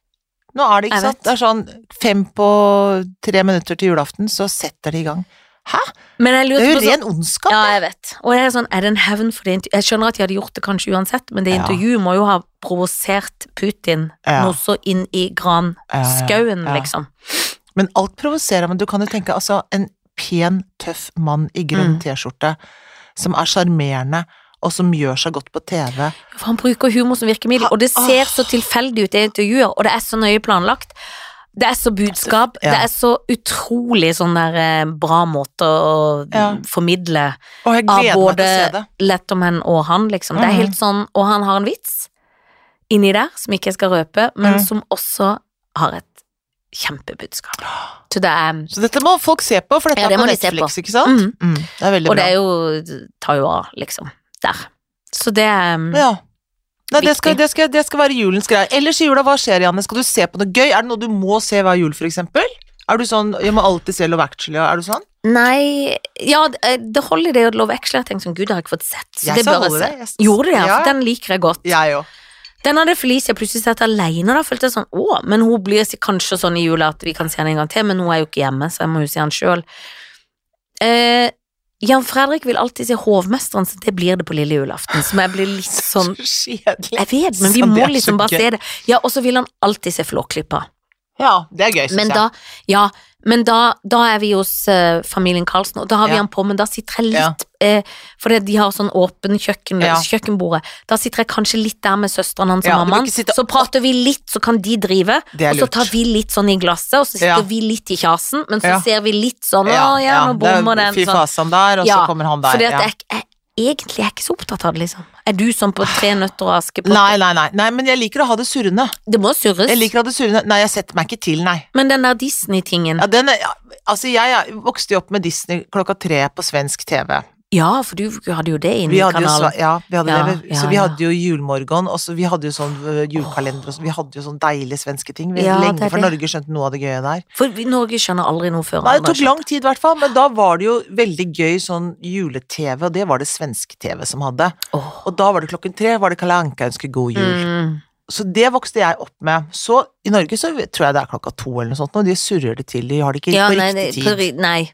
[SPEAKER 2] Nå er det ikke
[SPEAKER 1] Jeg
[SPEAKER 2] sant.
[SPEAKER 1] vet.
[SPEAKER 2] Det er sånn fem på tre minutter til julaften, så setter de i gang. Hæ?
[SPEAKER 1] Men jeg
[SPEAKER 2] Det
[SPEAKER 1] lurte
[SPEAKER 2] er jo
[SPEAKER 1] på sånn
[SPEAKER 2] ren ondskap.
[SPEAKER 1] Ja, jeg vet. Og jeg er sånn, er det en hevn for det intervju- Jeg skjønner at de hadde gjort det kanskje uansett, men det
[SPEAKER 2] Ja.
[SPEAKER 1] intervjuet må jo ha provosert Putin
[SPEAKER 2] Ja.
[SPEAKER 1] noe så inn i
[SPEAKER 2] Ja, ja,
[SPEAKER 1] granskauen,
[SPEAKER 2] ja.
[SPEAKER 1] liksom.
[SPEAKER 2] Men alt provoserer, men du kan jo tenke altså en pen, tøff mann i grønn
[SPEAKER 1] Mm.
[SPEAKER 2] T-skjorte som er sjarmerende og som gjør seg godt på TV.
[SPEAKER 1] For han bruker humor som virkemiddel, og det ser så tilfeldig ut i intervjuer, og det er så nøye planlagt. Det er så budskap,
[SPEAKER 2] Ja.
[SPEAKER 1] det er så utrolig sånn der eh, bra måte å
[SPEAKER 2] Ja.
[SPEAKER 1] formidle
[SPEAKER 2] Og jeg
[SPEAKER 1] av
[SPEAKER 2] gleder meg til
[SPEAKER 1] både
[SPEAKER 2] å se det.
[SPEAKER 1] Letterman og han, liksom. Det er
[SPEAKER 2] Mhm.
[SPEAKER 1] helt sånn, og han har en vits inni der, som ikke jeg skal røpe, men
[SPEAKER 2] Mhm.
[SPEAKER 1] som også har et kjempebudskap. Så det er
[SPEAKER 2] Så dette må folk se på, for dette
[SPEAKER 1] Ja, det
[SPEAKER 2] er på
[SPEAKER 1] må de se
[SPEAKER 2] Netflix, ikke sant?
[SPEAKER 1] Mhm.
[SPEAKER 2] Mm, det er veldig
[SPEAKER 1] Og det
[SPEAKER 2] bra.
[SPEAKER 1] er jo det tar jo av, liksom. Der. Så det er mm.
[SPEAKER 2] Ja. Nei, det skal,
[SPEAKER 1] Viktig.
[SPEAKER 2] det, skal, det skal være julens greie. Ellers i jula, hva skjer, Janne? Skal du se på noe gøy? Er det noe du må se hver jul, for eksempel? Er du sånn Jeg må alltid se Love Actually, og er du sånn?
[SPEAKER 1] Nei Ja, eh, det det holder i det å love actually. Jeg tenkte sånn, gud, det har jeg ikke fått sett. Så
[SPEAKER 2] Jeg
[SPEAKER 1] det
[SPEAKER 2] sa
[SPEAKER 1] bør jeg
[SPEAKER 2] Hold
[SPEAKER 1] se.
[SPEAKER 2] It, jeg s-
[SPEAKER 1] Gjorde det, ja.
[SPEAKER 2] Ja,
[SPEAKER 1] For den liker jeg godt.
[SPEAKER 2] Jeg òg.
[SPEAKER 1] Den hadde Felicia plutselig sett alene, da følte jeg sånn Å, men hun blir si- kanskje sånn i jula at vi kan se henne en gang til, men hun er jo ikke hjemme, så jeg må jo se han sjøl. Eh, Jan Fredrik vil alltid se Hovmesteren, så det blir det på lille julaften, som jeg blir litt sånn
[SPEAKER 2] Så kjedelig.
[SPEAKER 1] Jeg vet, men vi
[SPEAKER 2] Så det
[SPEAKER 1] må
[SPEAKER 2] er så
[SPEAKER 1] liksom bare
[SPEAKER 2] gøy.
[SPEAKER 1] se det. Ja, og så vil han alltid se Flåklypa.
[SPEAKER 2] Ja, det er gøy, syns
[SPEAKER 1] Men
[SPEAKER 2] jeg.
[SPEAKER 1] da, ja, men da, da er vi hos eh, familien Karlsen, og da har vi
[SPEAKER 2] Ja.
[SPEAKER 1] han på, men da sitter jeg
[SPEAKER 2] Ja.
[SPEAKER 1] litt eh, For de har sånn åpen kjøkken,
[SPEAKER 2] Ja.
[SPEAKER 1] kjøkkenbordet. Da sitter jeg kanskje litt der med søsteren hans og
[SPEAKER 2] Ja, du må
[SPEAKER 1] mammaen.
[SPEAKER 2] ikke sitte-
[SPEAKER 1] Så prater vi litt, så kan de drive.
[SPEAKER 2] Det er
[SPEAKER 1] Og så
[SPEAKER 2] lurt.
[SPEAKER 1] tar vi litt sånn i glasset, og så sitter
[SPEAKER 2] Ja.
[SPEAKER 1] vi litt i kjasen, men så
[SPEAKER 2] Ja.
[SPEAKER 1] ser vi litt sånn Å ja, nå bommer den.
[SPEAKER 2] Fy
[SPEAKER 1] Sånn.
[SPEAKER 2] fasan der, og
[SPEAKER 1] Ja,
[SPEAKER 2] så kommer han der.
[SPEAKER 1] Fordi at
[SPEAKER 2] ja.
[SPEAKER 1] jeg, jeg egentlig er jeg ikke så opptatt av det, liksom. Er du sånn på Tre nøtter og Askepott?
[SPEAKER 2] Nei, nei, nei, nei, men jeg liker å ha det surrende.
[SPEAKER 1] Det må surres.
[SPEAKER 2] Jeg liker å ha det surrende. Nei, jeg setter meg ikke til, nei.
[SPEAKER 1] Men den der Disney-tingen
[SPEAKER 2] Ja, den er, ja, altså, jeg er- vokste jo opp med Disney klokka tre på svensk TV.
[SPEAKER 1] Ja, for du hadde jo det inne
[SPEAKER 2] Vi
[SPEAKER 1] i
[SPEAKER 2] hadde jo,
[SPEAKER 1] kanalen.
[SPEAKER 2] sva- ja, vi hadde
[SPEAKER 1] Ja,
[SPEAKER 2] det. Vi- Så
[SPEAKER 1] ja,
[SPEAKER 2] vi
[SPEAKER 1] ja.
[SPEAKER 2] hadde jo julemorgen, og så vi hadde jo sånn ø, julekalender og så. Vi hadde jo sånn deilige svenske ting. Vi,
[SPEAKER 1] Ja, det
[SPEAKER 2] lenge
[SPEAKER 1] er
[SPEAKER 2] før
[SPEAKER 1] det.
[SPEAKER 2] Norge skjønte noe av det gøye der.
[SPEAKER 1] For vi, Norge skjønner aldri noe før
[SPEAKER 2] Nei, det
[SPEAKER 1] andre
[SPEAKER 2] tok lang tid i hvert fall, men da var det jo veldig gøy sånn jule-TV, og det var det svensk-TV som hadde.
[SPEAKER 1] skjønner. Åh.
[SPEAKER 2] Og da var det klokken tre, var det Kalle Anka ønsker god jul.
[SPEAKER 1] Mm.
[SPEAKER 2] Så det vokste jeg opp med. Så i Norge så tror jeg det er klokka to eller noe sånt, og de surrer det til, de har det ikke
[SPEAKER 1] Ja,
[SPEAKER 2] på
[SPEAKER 1] nei, det,
[SPEAKER 2] riktig
[SPEAKER 1] på,
[SPEAKER 2] tid.
[SPEAKER 1] ri- nei.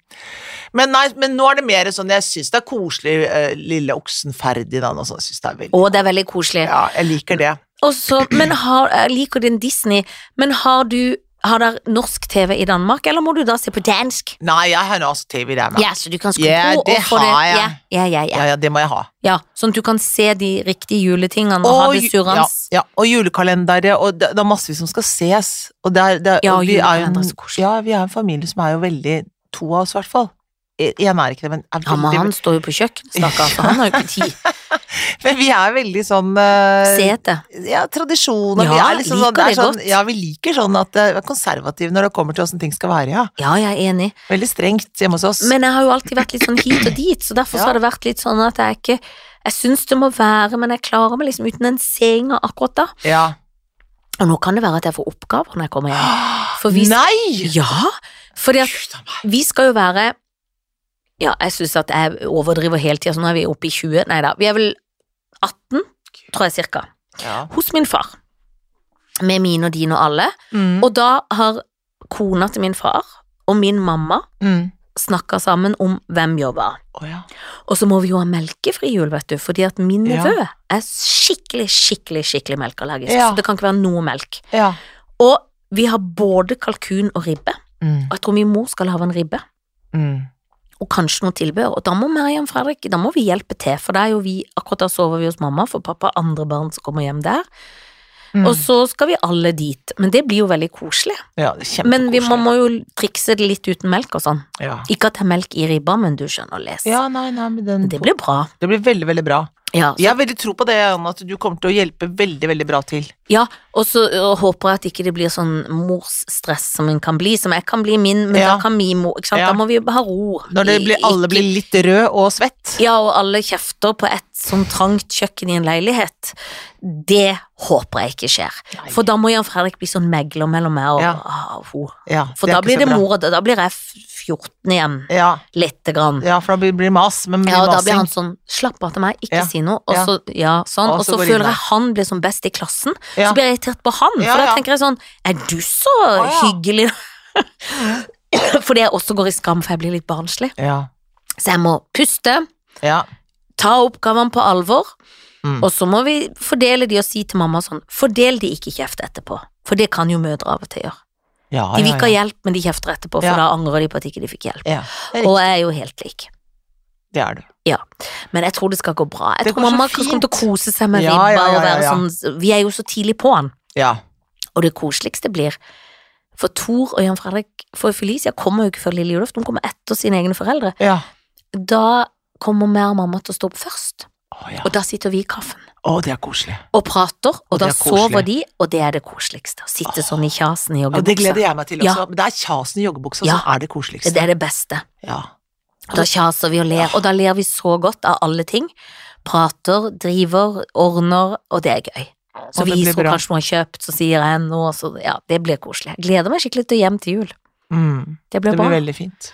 [SPEAKER 2] Men, nei, men nå er det mer sånn, jeg syns det er koselig, eh, lille oksen Ferdinand og sånn, syns det er veldig
[SPEAKER 1] Og det er veldig koselig.
[SPEAKER 2] Ja, jeg liker det.
[SPEAKER 1] Og så- men har, jeg liker din Disney, men har du har der norsk TV i Danmark, eller må du da se på dansk?
[SPEAKER 2] Nei, jeg har norsk TV der, men.
[SPEAKER 1] Ja, så du kan skru
[SPEAKER 2] Ja,
[SPEAKER 1] på
[SPEAKER 2] det
[SPEAKER 1] og få det.
[SPEAKER 2] har jeg.
[SPEAKER 1] Ja, ja, ja, ja.
[SPEAKER 2] Ja, ja, det må jeg ha.
[SPEAKER 1] ja, sånn at du kan se de riktige juletingene og, ha det
[SPEAKER 2] ju- ja,
[SPEAKER 1] surrende.
[SPEAKER 2] ja, og julekalendere, og det, det er masse som skal ses. Og det er, det er,
[SPEAKER 1] Ja,
[SPEAKER 2] og vi er jo
[SPEAKER 1] julekalender er
[SPEAKER 2] en,
[SPEAKER 1] så koselig.
[SPEAKER 2] ja, vi er en familie som er jo veldig To av oss, i hvert fall. Én er ikke det, men er
[SPEAKER 1] Ja, men
[SPEAKER 2] veldig-
[SPEAKER 1] han står jo på kjøkkenet, stakkar, for han har jo ikke tid.
[SPEAKER 2] Men vi er veldig sånn eh,
[SPEAKER 1] Se etter.
[SPEAKER 2] ja, tradisjoner. vi
[SPEAKER 1] Ja,
[SPEAKER 2] er liksom
[SPEAKER 1] liker
[SPEAKER 2] sånn, det er
[SPEAKER 1] det
[SPEAKER 2] sånn,
[SPEAKER 1] godt.
[SPEAKER 2] ja, vi liker sånn at det er konservative når det kommer til åssen ting skal være, ja.
[SPEAKER 1] Ja, jeg er enig.
[SPEAKER 2] Veldig strengt hjemme hos oss.
[SPEAKER 1] Men jeg har jo alltid vært litt sånn hit og dit, så derfor
[SPEAKER 2] Ja.
[SPEAKER 1] så har det vært litt sånn at jeg ikke Jeg syns det må være, men jeg klarer meg liksom uten den seinga akkurat da.
[SPEAKER 2] ja.
[SPEAKER 1] Og nå kan det være at jeg får oppgaver når jeg kommer hjem. For vi skal,
[SPEAKER 2] Nei!
[SPEAKER 1] ja, fordi at
[SPEAKER 2] Gud a meg.
[SPEAKER 1] vi skal jo være Ja, jeg syns at jeg overdriver hele tida, så nå er vi oppe i 20. Nei da, vi er vel 18, tror jeg cirka.
[SPEAKER 2] Ja.
[SPEAKER 1] Hos min far. Med mine og dine og alle.
[SPEAKER 2] Mm.
[SPEAKER 1] Og da har kona til min far og min mamma
[SPEAKER 2] mm.
[SPEAKER 1] snakka sammen om hvem gjør hva.
[SPEAKER 2] Å, ja.
[SPEAKER 1] Og så må vi jo ha melkefri jul, vet du, fordi at min
[SPEAKER 2] Ja.
[SPEAKER 1] nevø er skikkelig, skikkelig, skikkelig melkallergisk,
[SPEAKER 2] Ja.
[SPEAKER 1] så det kan ikke være noe melk.
[SPEAKER 2] ja.
[SPEAKER 1] Og vi har både kalkun og ribbe,
[SPEAKER 2] Mm.
[SPEAKER 1] og jeg tror min mor skal ha en ribbe,
[SPEAKER 2] Mm.
[SPEAKER 1] og kanskje noe tilbehør, og da må Mariann Fredrik, da må vi hjelpe til, for det er jo vi, akkurat da sover vi hos mamma, for pappa har andre barn som kommer hjem der,
[SPEAKER 2] Mm.
[SPEAKER 1] og så skal vi alle dit, men det blir jo veldig koselig.
[SPEAKER 2] ja, det er kjempekoselig.
[SPEAKER 1] Men vi må, må jo trikse det litt uten melk og sånn.
[SPEAKER 2] ja.
[SPEAKER 1] Ikke at det er melk i ribba, men du skjønner å lese.
[SPEAKER 2] ja, nei, nei, men den,
[SPEAKER 1] Det Altså- blir bra.
[SPEAKER 2] det blir veldig, veldig bra.
[SPEAKER 1] Ja,
[SPEAKER 2] Jeg har veldig tro på det, Anne, at du kommer til å hjelpe veldig, veldig bra til.
[SPEAKER 1] Ja, og så ø, håper jeg at ikke det blir sånn morsstress som en kan bli, som jeg kan bli min, men
[SPEAKER 2] Ja.
[SPEAKER 1] da kan min mor, ikke sant,
[SPEAKER 2] Ja.
[SPEAKER 1] da må vi ha ro.
[SPEAKER 2] Når det
[SPEAKER 1] I-
[SPEAKER 2] blir, alle
[SPEAKER 1] ikke-
[SPEAKER 2] blir litt rød og svett.
[SPEAKER 1] Ja, og alle kjefter på et sånn trangt kjøkken i en leilighet, det håper jeg ikke skjer.
[SPEAKER 2] Nei.
[SPEAKER 1] For da må Jan Fredrik bli sånn megler mellom meg og
[SPEAKER 2] Ja.
[SPEAKER 1] ah, ho.
[SPEAKER 2] Ja,
[SPEAKER 1] For
[SPEAKER 2] er
[SPEAKER 1] da
[SPEAKER 2] ikke
[SPEAKER 1] blir
[SPEAKER 2] så
[SPEAKER 1] det
[SPEAKER 2] bra.
[SPEAKER 1] mor, og da da blir jeg f- 14 igjen.
[SPEAKER 2] Ja,
[SPEAKER 1] Lite grann.
[SPEAKER 2] ja for da blir- blir det mas, men mye
[SPEAKER 1] Ja, og da blir
[SPEAKER 2] masing.
[SPEAKER 1] han sånn Slapp av til meg, ikke
[SPEAKER 2] Ja.
[SPEAKER 1] si noe. Og
[SPEAKER 2] Ja.
[SPEAKER 1] så, ja, sånn. Og
[SPEAKER 2] Og så
[SPEAKER 1] så
[SPEAKER 2] går det inn
[SPEAKER 1] føler
[SPEAKER 2] der.
[SPEAKER 1] jeg han blir som best i klassen.
[SPEAKER 2] Ja.
[SPEAKER 1] Så blir jeg irritert på han, for
[SPEAKER 2] Ja, ja.
[SPEAKER 1] da tenker jeg sånn Er du så
[SPEAKER 2] ja.
[SPEAKER 1] hyggelig? Fordi jeg også går i skam, for jeg blir litt barnslig.
[SPEAKER 2] Ja,
[SPEAKER 1] Så jeg må puste,
[SPEAKER 2] ja,
[SPEAKER 1] ta oppgavene på alvor,
[SPEAKER 2] Mm.
[SPEAKER 1] og så må vi fordele de og si til mamma sånn Fordel de ikke kjeft etterpå, for det kan jo mødre av og til gjøre.
[SPEAKER 2] ja.
[SPEAKER 1] De vil
[SPEAKER 2] ja,
[SPEAKER 1] ikke ha
[SPEAKER 2] ja.
[SPEAKER 1] hjelp, men de kjefter etterpå, for
[SPEAKER 2] Ja.
[SPEAKER 1] da angrer de på at ikke de fikk hjelp.
[SPEAKER 2] Ja, det er
[SPEAKER 1] Og
[SPEAKER 2] riktig.
[SPEAKER 1] jeg er jo helt lik.
[SPEAKER 2] Det er du.
[SPEAKER 1] Men jeg tror det skal gå bra. Jeg
[SPEAKER 2] Det
[SPEAKER 1] tror
[SPEAKER 2] går så
[SPEAKER 1] mamma kommer til å
[SPEAKER 2] fint.
[SPEAKER 1] kose seg med
[SPEAKER 2] Ja,
[SPEAKER 1] ribba
[SPEAKER 2] ja, ja,
[SPEAKER 1] og være
[SPEAKER 2] ja, ja.
[SPEAKER 1] sånn Vi er jo så tidlig på han,
[SPEAKER 2] Ja.
[SPEAKER 1] og det koseligste blir For Tor og Jan Fredrik For Felicia kommer jo ikke før lille julaften, hun kommer etter sine egne foreldre.
[SPEAKER 2] Ja.
[SPEAKER 1] Da kommer mer mamma til å stå opp først,
[SPEAKER 2] Å, ja.
[SPEAKER 1] og da sitter vi i kaffen
[SPEAKER 2] Å, det er koselig.
[SPEAKER 1] og prater, og,
[SPEAKER 2] Og det
[SPEAKER 1] da
[SPEAKER 2] er koselig.
[SPEAKER 1] sover de, og det er det koseligste. Å sitte sånn i kjasen i
[SPEAKER 2] Ja, det gleder
[SPEAKER 1] joggebuksa.
[SPEAKER 2] jeg meg til
[SPEAKER 1] Ja.
[SPEAKER 2] også. Men det er kjasen i joggebuksa
[SPEAKER 1] Ja.
[SPEAKER 2] som er det
[SPEAKER 1] Det
[SPEAKER 2] koseligste.
[SPEAKER 1] er det beste.
[SPEAKER 2] Ja.
[SPEAKER 1] Da kjaser vi og ler, og da ler vi så godt av alle ting. Prater, driver, ordner, og det er gøy. Så
[SPEAKER 2] Og det
[SPEAKER 1] viser
[SPEAKER 2] blir
[SPEAKER 1] hun
[SPEAKER 2] bra.
[SPEAKER 1] kanskje noe hun har kjøpt, så sier jeg noe, så ja, det blir koselig. Jeg gleder meg skikkelig til hjem til jul.
[SPEAKER 2] Mm.
[SPEAKER 1] Det
[SPEAKER 2] Det
[SPEAKER 1] blir
[SPEAKER 2] blir
[SPEAKER 1] bra.
[SPEAKER 2] veldig fint.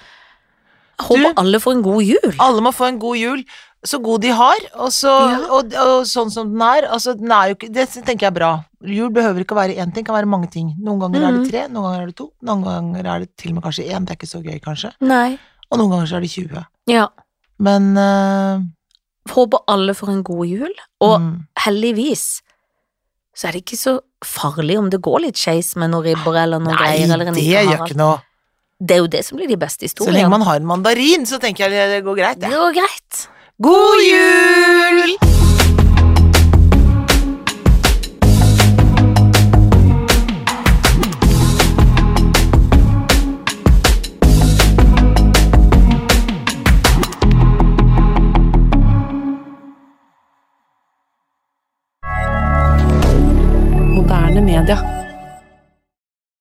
[SPEAKER 1] Jeg håper
[SPEAKER 2] Du-
[SPEAKER 1] alle får en god jul.
[SPEAKER 2] Alle må få en god jul, så god de har, og, så,
[SPEAKER 1] Ja.
[SPEAKER 2] og, og sånn som den er. Altså, den er jo ikke, det tenker jeg er bra. Jul behøver ikke å være én ting, kan være mange ting. Noen ganger er
[SPEAKER 1] Mhm.
[SPEAKER 2] det tre, noen ganger er det to, noen ganger er det til og med kanskje én, det er ikke så gøy kanskje.
[SPEAKER 1] Nei.
[SPEAKER 2] Og noen ganger så er det 20.
[SPEAKER 1] Ja.
[SPEAKER 2] Men eh,
[SPEAKER 1] Håper alle får en god jul, og
[SPEAKER 2] mm,
[SPEAKER 1] heldigvis så er det ikke så farlig om det går litt skeis med noen ribber eller noen
[SPEAKER 2] Nei,
[SPEAKER 1] greier. Eller en
[SPEAKER 2] det
[SPEAKER 1] ikke har
[SPEAKER 2] gjør
[SPEAKER 1] alt.
[SPEAKER 2] ikke noe.
[SPEAKER 1] Det er jo det som blir de beste
[SPEAKER 2] Så lenge
[SPEAKER 1] historiene.
[SPEAKER 2] man har en mandarin, så tenker jeg det går greit.
[SPEAKER 1] Det
[SPEAKER 2] det.
[SPEAKER 1] går greit.
[SPEAKER 2] God jul!
[SPEAKER 3] Moderne media.